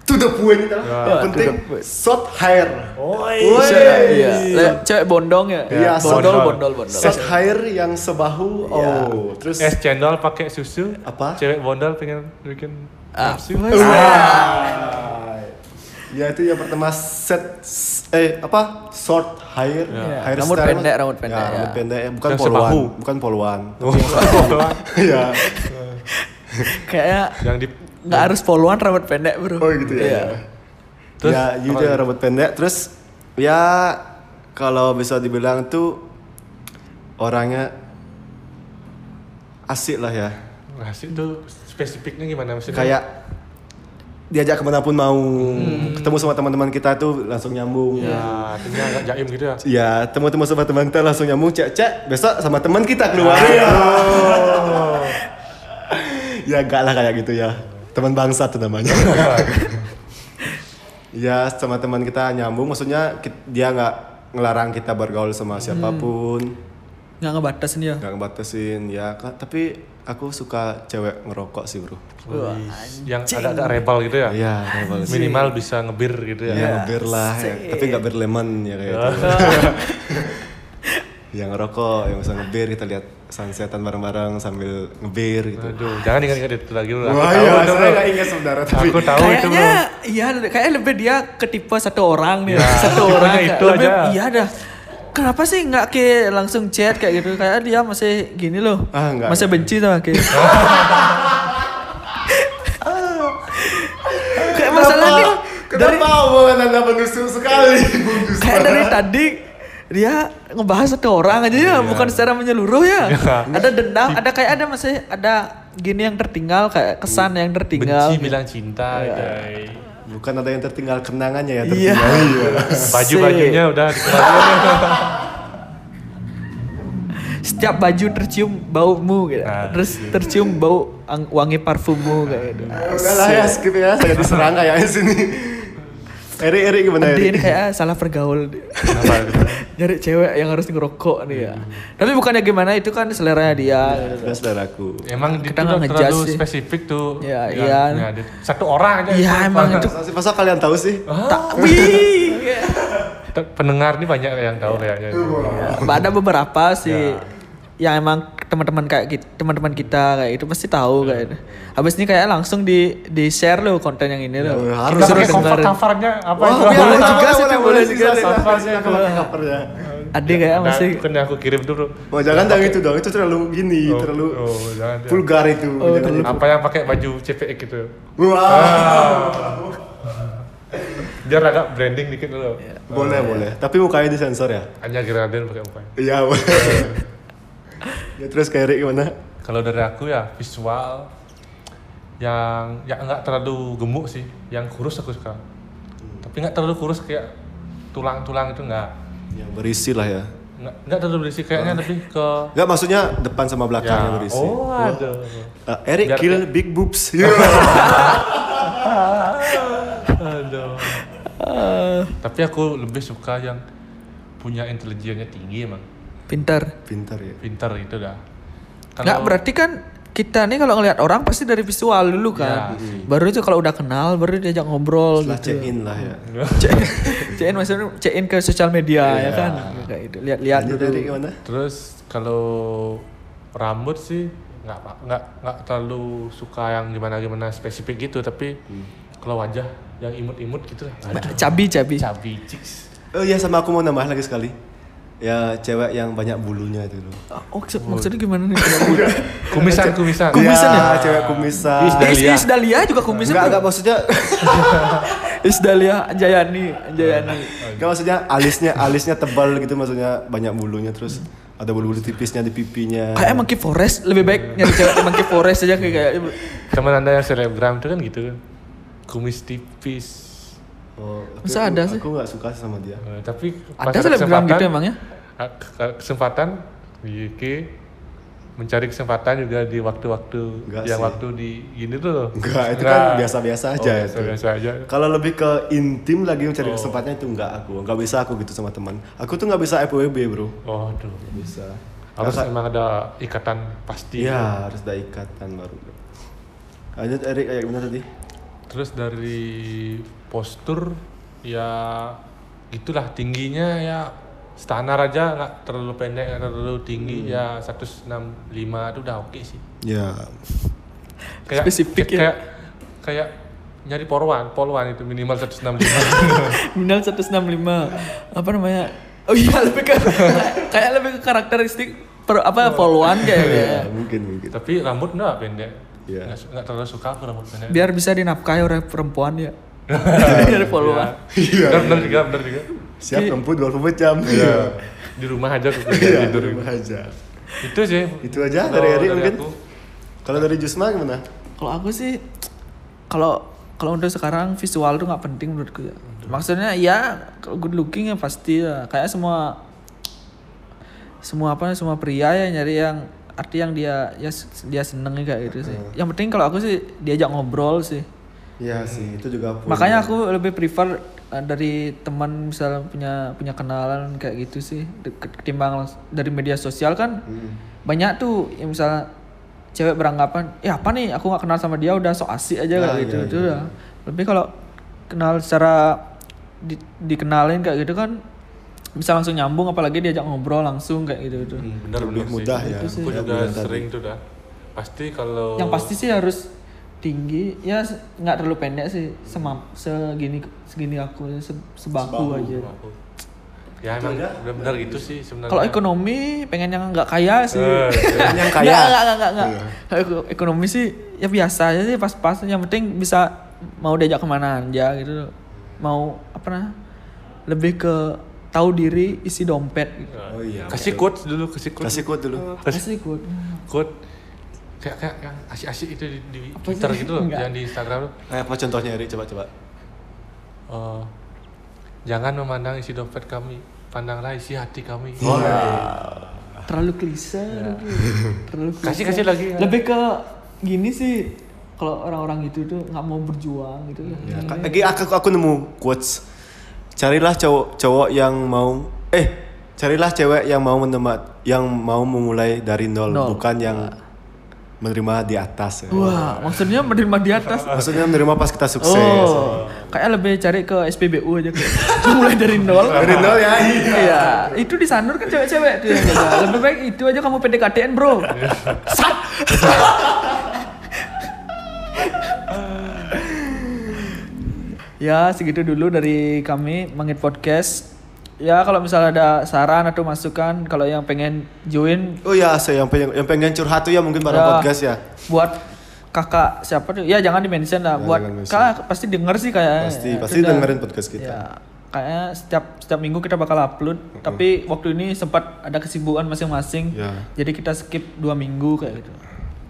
[SPEAKER 3] to the point gitu lah.
[SPEAKER 2] Ya,
[SPEAKER 3] Yang penting short hair.
[SPEAKER 2] Oh,
[SPEAKER 1] Iya. Lah, Cewek bondong ya.
[SPEAKER 3] Iya,
[SPEAKER 1] bondol,
[SPEAKER 2] bondol.
[SPEAKER 1] bondol, bondol.
[SPEAKER 3] Short hair yang sebahu.
[SPEAKER 2] Ya.
[SPEAKER 3] Oh, terus
[SPEAKER 2] es cendol pakai susu
[SPEAKER 3] Apa?
[SPEAKER 2] cewek bondol pengen bikin
[SPEAKER 1] Ah.
[SPEAKER 2] nafsu
[SPEAKER 3] ya itu yang pertama set eh apa short hair, hair
[SPEAKER 1] Rambut pendek, rambut pendek,
[SPEAKER 3] Ya, rambut
[SPEAKER 1] ya.
[SPEAKER 3] pendek bukan
[SPEAKER 2] Ya. Yang
[SPEAKER 3] poluan,
[SPEAKER 2] sebahu.
[SPEAKER 3] bukan poluan.
[SPEAKER 2] Oh.
[SPEAKER 3] Iya.
[SPEAKER 1] Kayaknya
[SPEAKER 2] yang di
[SPEAKER 1] nggak harus poluan rambut pendek bro.
[SPEAKER 3] Oh gitu ya.
[SPEAKER 1] Iya.
[SPEAKER 3] ya.
[SPEAKER 2] Terus,
[SPEAKER 3] ya, itu
[SPEAKER 2] apa lagi?
[SPEAKER 3] rambut pendek terus ya kalau bisa dibilang tuh orangnya asik lah ya.
[SPEAKER 2] ngasih tuh Nah, spesifiknya gimana maksudnya
[SPEAKER 3] kayak diajak kemanapun mau
[SPEAKER 1] Hmm.
[SPEAKER 3] ketemu sama teman-teman kita tuh langsung nyambung
[SPEAKER 2] ya artinya agak jaim gitu ya
[SPEAKER 3] ya temu-temu sama teman kita langsung nyambung cek cek besok sama teman kita keluar ya ya enggak lah kayak gitu ya teman bangsa tuh namanya ya sama teman kita nyambung maksudnya ki- dia nggak ngelarang kita bergaul sama siapapun
[SPEAKER 1] Nggak ngebatasin ya.
[SPEAKER 3] nggak ngebatasin ya Kak, tapi aku suka cewek ngerokok sih bro
[SPEAKER 1] Wah,
[SPEAKER 2] yang agak-agak rebel gitu ya
[SPEAKER 3] ya ngerokok sih.
[SPEAKER 2] minimal bisa ngebir gitu ya
[SPEAKER 3] Ya, ngebir lah, ya. tapi nggak bir lemon ya kayak gitu. yang ngerokok, yang bisa ngebir kita lihat sunsetan bareng-bareng sambil ngebir gitu.
[SPEAKER 2] aduh jangan ingat-ingat itu lagi dulu
[SPEAKER 3] Wah ya, saya nggak ingat sebenarnya tapi
[SPEAKER 2] aku tahu itu
[SPEAKER 1] kayaknya
[SPEAKER 2] bro
[SPEAKER 1] iya kayaknya lebih dia ketipu satu orang nih
[SPEAKER 2] Ya,
[SPEAKER 1] satu
[SPEAKER 2] cuma
[SPEAKER 1] orang kayak
[SPEAKER 2] itu
[SPEAKER 1] lebih,
[SPEAKER 2] aja.
[SPEAKER 1] iya dah kenapa sih nggak ke langsung chat kayak gitu kayak dia masih gini loh
[SPEAKER 3] Ah, nggak,
[SPEAKER 1] masih
[SPEAKER 3] nggak.
[SPEAKER 1] benci sama ke kayak masalahnya dari
[SPEAKER 3] kenapa omongan anda menusuk sekali, Bung Jusma?
[SPEAKER 1] kayak dari tadi dia ngebahas satu orang aja
[SPEAKER 2] Iya.
[SPEAKER 1] ya, bukan secara menyeluruh ya. Ada dendam, ada kayak ada masih ada gini yang tertinggal kayak kesan yang tertinggal.
[SPEAKER 2] benci bilang cinta guys
[SPEAKER 3] Bukan ada yang tertinggal kenangannya ya
[SPEAKER 1] Iya.
[SPEAKER 3] tertinggal.
[SPEAKER 2] baju bajunya udah dikeluarin.
[SPEAKER 1] setiap baju tercium baumu gitu.
[SPEAKER 2] Ah,
[SPEAKER 1] Terus tercium bau ang- wangi parfummu kayak gitu.
[SPEAKER 3] Udah lah ya skip ya, saya diserang kayaknya sini. Eri, Eri gimana
[SPEAKER 1] Nanti Kan ini
[SPEAKER 3] Eri?
[SPEAKER 1] kayak "Ah, salah pergaul. Nyari cewek yang harus ngerokok nih ya. Tapi bukannya gimana itu kan seleranya dia. gitu.
[SPEAKER 3] Udah saudaraku.
[SPEAKER 2] emang itu
[SPEAKER 1] Kita nggak
[SPEAKER 2] udah
[SPEAKER 1] ngejudge
[SPEAKER 2] terlalu
[SPEAKER 1] sih.
[SPEAKER 2] spesifik tuh
[SPEAKER 1] Ya,
[SPEAKER 2] Yang-
[SPEAKER 1] iya.
[SPEAKER 2] ya, di- satu orang aja
[SPEAKER 1] Iya, emang itu.
[SPEAKER 3] Masa masa kalian tahu sih?
[SPEAKER 1] Tak wih. ya.
[SPEAKER 2] T- pendengar nih banyak yang
[SPEAKER 1] Iya.
[SPEAKER 2] tahu kayaknya.
[SPEAKER 1] ada beberapa sih yang emang teman-teman kayak kita, teman-teman kita kayak itu pasti tahu kayak itu. Habis ini kayak langsung di di share loh konten yang ini loh.
[SPEAKER 3] Ya, harus.
[SPEAKER 2] Kita
[SPEAKER 1] Disuruh
[SPEAKER 2] pakai cover
[SPEAKER 1] dengerin.
[SPEAKER 2] covernya apa
[SPEAKER 3] Wah,
[SPEAKER 2] itu?
[SPEAKER 3] boleh,
[SPEAKER 1] boleh
[SPEAKER 3] juga
[SPEAKER 1] juga,
[SPEAKER 3] sih, boleh, boleh juga sih.
[SPEAKER 2] Apa sih?
[SPEAKER 3] Aku pakai covernya.
[SPEAKER 1] Ada kayak
[SPEAKER 2] Nah,
[SPEAKER 1] masih
[SPEAKER 2] bukan yang aku kirim dulu.
[SPEAKER 3] Wah, jangan dong itu dong, itu terlalu gini,
[SPEAKER 2] Oh,
[SPEAKER 3] terlalu
[SPEAKER 2] oh, jangan, jangan.
[SPEAKER 3] vulgar itu. Jangan terlalu-
[SPEAKER 2] Apa yang pakai baju CPE gitu?
[SPEAKER 3] Wah.
[SPEAKER 2] Biar agak branding dikit dulu.
[SPEAKER 3] Boleh, boleh. Tapi mukanya disensor ya?
[SPEAKER 2] Hanya Grenadine pakai mukanya.
[SPEAKER 3] Iya, boleh. ya terus kayak Rick gimana?
[SPEAKER 2] Kalau dari aku ya visual yang ya nggak terlalu gemuk sih, yang kurus aku suka. Tapi nggak terlalu kurus kayak tulang-tulang itu nggak
[SPEAKER 3] Yang berisi lah ya.
[SPEAKER 2] nggak nggak terlalu berisi kayaknya lebih ke
[SPEAKER 3] Enggak maksudnya depan sama belakang yang
[SPEAKER 2] ya
[SPEAKER 3] berisi.
[SPEAKER 2] oh ada
[SPEAKER 3] Eh, Eric
[SPEAKER 2] Biar
[SPEAKER 3] kill
[SPEAKER 2] kayak-
[SPEAKER 3] big boobs.
[SPEAKER 2] ada Ah, tapi aku lebih suka yang punya intelijennya tinggi emang
[SPEAKER 1] pintar.
[SPEAKER 3] Pintar ya.
[SPEAKER 2] pintar itu dah
[SPEAKER 1] Nggak berarti kan kita nih kalau ngelihat orang pasti dari visual dulu kan. Baru itu kalau udah kenal baru diajak ngobrol
[SPEAKER 3] Lah check
[SPEAKER 1] gitu.
[SPEAKER 3] in lah ya.
[SPEAKER 1] Cek cekin maksudnya cekin ke sosial media ya kan. Kayak itu lihat-lihat
[SPEAKER 3] Lanjut
[SPEAKER 1] dulu.
[SPEAKER 3] Eric gimana?
[SPEAKER 2] Terus kalau rambut sih nggak apa- nggak nggak terlalu suka yang gimana gimana spesifik gitu tapi
[SPEAKER 3] Hmm.
[SPEAKER 2] kalau wajah yang imut-imut gitu lah. Aduh,
[SPEAKER 1] Cabi-cabi.
[SPEAKER 2] Chubby cheeks.
[SPEAKER 3] Oh iya sama aku mau nambah lagi sekali. Ya cewek yang banyak bulunya itu loh.
[SPEAKER 1] Oh, maksud- maksudnya gimana nih?
[SPEAKER 2] Kumisan kumisan. Iya.
[SPEAKER 1] Kumisan
[SPEAKER 3] ya?
[SPEAKER 1] ya?
[SPEAKER 3] cewek kumisan.
[SPEAKER 2] Ih,
[SPEAKER 1] Is, ya?
[SPEAKER 2] Dahlia.
[SPEAKER 1] is Dahlia juga kumisnya.
[SPEAKER 3] Enggak,
[SPEAKER 1] bro.
[SPEAKER 3] enggak maksudnya
[SPEAKER 1] Is Dahlia Jayani, Jayani.
[SPEAKER 3] enggak maksudnya alisnya alisnya tebal gitu maksudnya banyak bulunya terus ada bulu-bulu tipisnya di pipinya.
[SPEAKER 1] Kayak Monkey Forest lebih baik nyari cewek kayak Monkey Forest aja kayak kayak
[SPEAKER 2] Teman anda yang selebgram itu kan gitu kan. Kumis tipis.
[SPEAKER 3] Oh, tapi
[SPEAKER 1] Masa
[SPEAKER 3] aku-
[SPEAKER 1] ada sih?
[SPEAKER 3] Aku nggak suka sama dia.
[SPEAKER 2] Eh, tapi
[SPEAKER 1] Ada selebgram gitu emangnya?
[SPEAKER 2] ah, ke- ke- Kesempatan di UK mencari kesempatan juga di waktu-waktu
[SPEAKER 3] Enggak
[SPEAKER 2] yang
[SPEAKER 3] sih.
[SPEAKER 2] waktu di gini tuh loh.
[SPEAKER 3] Enggak, itu kan
[SPEAKER 2] Enggak.
[SPEAKER 3] biasa-biasa aja
[SPEAKER 2] Oh,
[SPEAKER 3] itu.
[SPEAKER 2] biasa-biasa aja.
[SPEAKER 3] Kalau lebih ke intim lagi mencari kesempatan itu nggak aku, nggak bisa aku gitu sama teman. Aku tuh nggak bisa FWB bro.
[SPEAKER 2] Oh, aduh.
[SPEAKER 3] Bisa.
[SPEAKER 2] harus emang ada ikatan pasti
[SPEAKER 3] Iya harus ada ikatan baru. bro. Lanjut Erik kayak gimana tadi?
[SPEAKER 2] terus dari postur ya gitulah tingginya ya standar aja nggak terlalu pendek nggak terlalu tinggi
[SPEAKER 3] Hmm.
[SPEAKER 2] ya 165 itu udah oke sih
[SPEAKER 3] Ya.
[SPEAKER 2] kayak
[SPEAKER 1] Spesifik
[SPEAKER 2] kayak,
[SPEAKER 1] ya.
[SPEAKER 2] kayak kayak nyari polwan polwan itu minimal 165
[SPEAKER 1] minimal 165 apa namanya? Oh iya lebih ke kayak lebih ke karakteristik per, apa followan kayak gitu ya. kayak.
[SPEAKER 3] Ya, mungkin mungkin.
[SPEAKER 2] tapi rambut nggak pendek
[SPEAKER 3] Iya.
[SPEAKER 2] nggak su- nggak terlalu suka aku rambut pendek
[SPEAKER 1] Biar bisa dinafkahi oleh perempuan ya. Dari followan.
[SPEAKER 2] Iya. benar benar juga benar juga
[SPEAKER 3] Siap lembut 24 jam. Iya.
[SPEAKER 2] di rumah aja aku
[SPEAKER 3] Iya.
[SPEAKER 2] tidur
[SPEAKER 3] di rumah aja.
[SPEAKER 2] itu sih
[SPEAKER 3] Itu aja
[SPEAKER 2] Kalau
[SPEAKER 3] dari Erik mungkin.
[SPEAKER 2] aku,
[SPEAKER 3] Kalau dari Jusma gimana?
[SPEAKER 1] Kalau aku sih kalau kalau untuk sekarang visual tuh nggak penting menurutku ya. Maksudnya ya kalau good looking ya pasti ya. Kayak semua semua apa semua pria ya nyari yang arti yang dia ya s- dia seneng kayak gitu sih. Yang penting kalau aku sih diajak ngobrol sih.
[SPEAKER 3] Iya sih itu juga. poin.
[SPEAKER 1] Makanya aku lebih prefer eh, dari teman misalnya punya punya kenalan kayak gitu sih de- ketimbang langs- dari media sosial kan
[SPEAKER 3] Hmm.
[SPEAKER 1] banyak tuh yang misalnya cewek beranggapan ya apa nih aku nggak kenal sama dia udah sok asik aja
[SPEAKER 3] Ah,
[SPEAKER 1] kayak gitu
[SPEAKER 3] iya,
[SPEAKER 1] itu udah lebih kalau kenal secara di- dikenalin kayak gitu kan bisa langsung nyambung apalagi diajak ngobrol langsung kayak gitu tuh
[SPEAKER 2] hmm, benar
[SPEAKER 3] Lebih
[SPEAKER 2] benar sih.
[SPEAKER 3] mudah ya.
[SPEAKER 2] aku juga sering tuh dah pasti
[SPEAKER 3] Oh.
[SPEAKER 2] kalau
[SPEAKER 1] yang pasti sih harus tinggi ya se- nggak terlalu pendek sih semam segini segini aku se, sebaku aja
[SPEAKER 3] oh.
[SPEAKER 2] aku ya emang benar benar gitu sih sebenarnya
[SPEAKER 1] Kalau ekonomi pengen yang nggak kaya sih.
[SPEAKER 2] Eh,
[SPEAKER 3] Pengen yang kaya.
[SPEAKER 1] Nggak, nggak, nggak, nggak, nggak.
[SPEAKER 2] Iya.
[SPEAKER 1] Eko- Ekonomi sih ya biasa aja sih pas-pas. Yang penting bisa mau diajak kemana aja gitu. Mau apa nah? Lebih ke tahu diri isi dompet. Gitu.
[SPEAKER 3] Oh
[SPEAKER 2] Ya.
[SPEAKER 3] iya.
[SPEAKER 2] kasih quotes dulu kasih quotes
[SPEAKER 3] Kasih quote dulu.
[SPEAKER 1] Asli good.
[SPEAKER 2] quote kayak kayak yang asyik-asyik itu di, di
[SPEAKER 1] Apa
[SPEAKER 2] Twitter
[SPEAKER 1] sih?
[SPEAKER 2] gitu loh
[SPEAKER 1] Enggak.
[SPEAKER 2] yang di Instagram tuh
[SPEAKER 3] Eh, apa contohnya Erik coba coba.
[SPEAKER 2] eh, jangan memandang isi dompet kami pandanglah isi hati kami
[SPEAKER 3] Oh, iya.
[SPEAKER 1] Terlalu klise. Terlalu klise.
[SPEAKER 2] Iya. kasih kasih lagi
[SPEAKER 1] Lebih ke gini sih kalau orang-orang itu tuh nggak mau berjuang gitu.
[SPEAKER 3] Ya,
[SPEAKER 2] Iya,
[SPEAKER 3] ka- lagi aku, aku nemu quotes. Carilah cowok cowok yang mau eh carilah cewek yang mau menemat yang mau memulai dari nol,
[SPEAKER 1] Nol.
[SPEAKER 3] bukan yang menerima di atas. ya.
[SPEAKER 1] Wah, maksudnya menerima di atas.
[SPEAKER 3] Maksudnya menerima pas kita sukses.
[SPEAKER 1] Oh, kayak lebih cari ke SPBU aja kayak mulai dari nol
[SPEAKER 3] Dari nol ya.
[SPEAKER 1] iya itu di sanur kan cewek-cewek tuh yang jaga. lebih baik itu aja kamu PDKT-an bro Sat! ya segitu dulu dari kami Mangit Podcast ya kalau misalnya ada saran atau masukan kalau yang pengen join
[SPEAKER 3] Oh ya, saya yang pengen, yang pengen curhat tuh ya mungkin para
[SPEAKER 1] Ya.
[SPEAKER 3] podcast ya.
[SPEAKER 1] buat kakak siapa tuh ya jangan di mention lah
[SPEAKER 3] Ya,
[SPEAKER 1] buat
[SPEAKER 3] jangan mention.
[SPEAKER 1] kakak pasti denger sih kayaknya
[SPEAKER 3] Pasti,
[SPEAKER 1] Ya,
[SPEAKER 3] pasti
[SPEAKER 1] itu dah.
[SPEAKER 3] dengerin podcast kita.
[SPEAKER 1] ya kayaknya setiap setiap minggu kita bakal upload tapi waktu ini sempat ada kesibukan masing-masing
[SPEAKER 3] Ya.
[SPEAKER 1] jadi kita skip dua minggu kayak gitu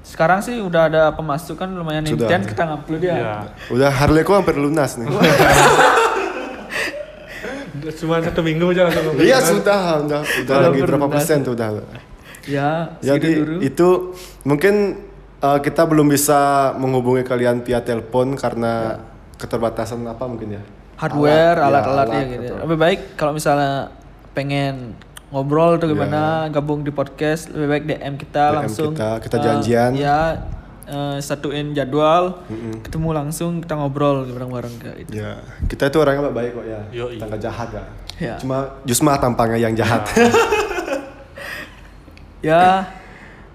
[SPEAKER 1] sekarang sih udah ada pemasukan lumayan
[SPEAKER 3] Sudah.
[SPEAKER 1] intens kita ngupload ya
[SPEAKER 2] Ya.
[SPEAKER 3] Udah Harley ku hampir lunas nih.
[SPEAKER 2] Cuma satu minggu aja langsung.
[SPEAKER 3] Iya sudah, udah, udah
[SPEAKER 1] Hampir
[SPEAKER 3] lagi berapa
[SPEAKER 1] lunas.
[SPEAKER 3] persen tuh udah.
[SPEAKER 1] ya segitu
[SPEAKER 3] Jadi
[SPEAKER 1] dulu
[SPEAKER 3] itu mungkin uh, kita belum bisa menghubungi kalian via telepon karena keterbatasan apa mungkin ya?
[SPEAKER 1] Ya. hardware
[SPEAKER 3] Alat, ya,
[SPEAKER 1] alat-alatnya
[SPEAKER 3] alat
[SPEAKER 1] gitu
[SPEAKER 3] atau-
[SPEAKER 1] lebih baik kalau misalnya pengen ngobrol atau
[SPEAKER 3] Iya,
[SPEAKER 1] gimana gabung di podcast lebih baik DM kita
[SPEAKER 3] DM
[SPEAKER 1] langsung
[SPEAKER 3] kita, kita
[SPEAKER 1] Eh,
[SPEAKER 3] janjian.
[SPEAKER 1] ya eh, satuin jadwal ketemu langsung kita ngobrol bareng-bareng kayak gitu
[SPEAKER 3] Ya, kita itu orangnya baik kok ya.
[SPEAKER 2] Yoi.
[SPEAKER 3] Kita nggak jahat ya.
[SPEAKER 1] Ya.
[SPEAKER 3] Cuma Jusma tampangnya yang jahat.
[SPEAKER 1] ya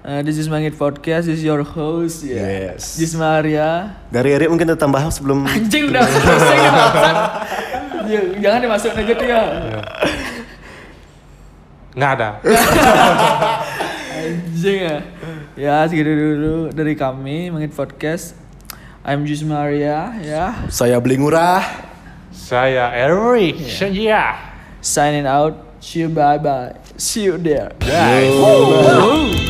[SPEAKER 1] eh, this is Mangit Podcast this is your host ya
[SPEAKER 3] Yes.
[SPEAKER 1] this is Maria
[SPEAKER 3] Dari Erik mungkin kita tambah sebelum
[SPEAKER 1] anjing udah selesai kan Hasan. Ya, jangan dimasukin aja tuh ya
[SPEAKER 3] Iya.
[SPEAKER 2] Nggak ada.
[SPEAKER 1] Anjing ya. Ya segitu dulu dari kami Mengit Podcast. I'm Jus Maria ya.
[SPEAKER 3] saya beli murah.
[SPEAKER 2] Saya Eric
[SPEAKER 1] Iya.
[SPEAKER 2] Senja.
[SPEAKER 1] Signing out. See you bye bye. See you there.
[SPEAKER 2] Guys.
[SPEAKER 1] Woo.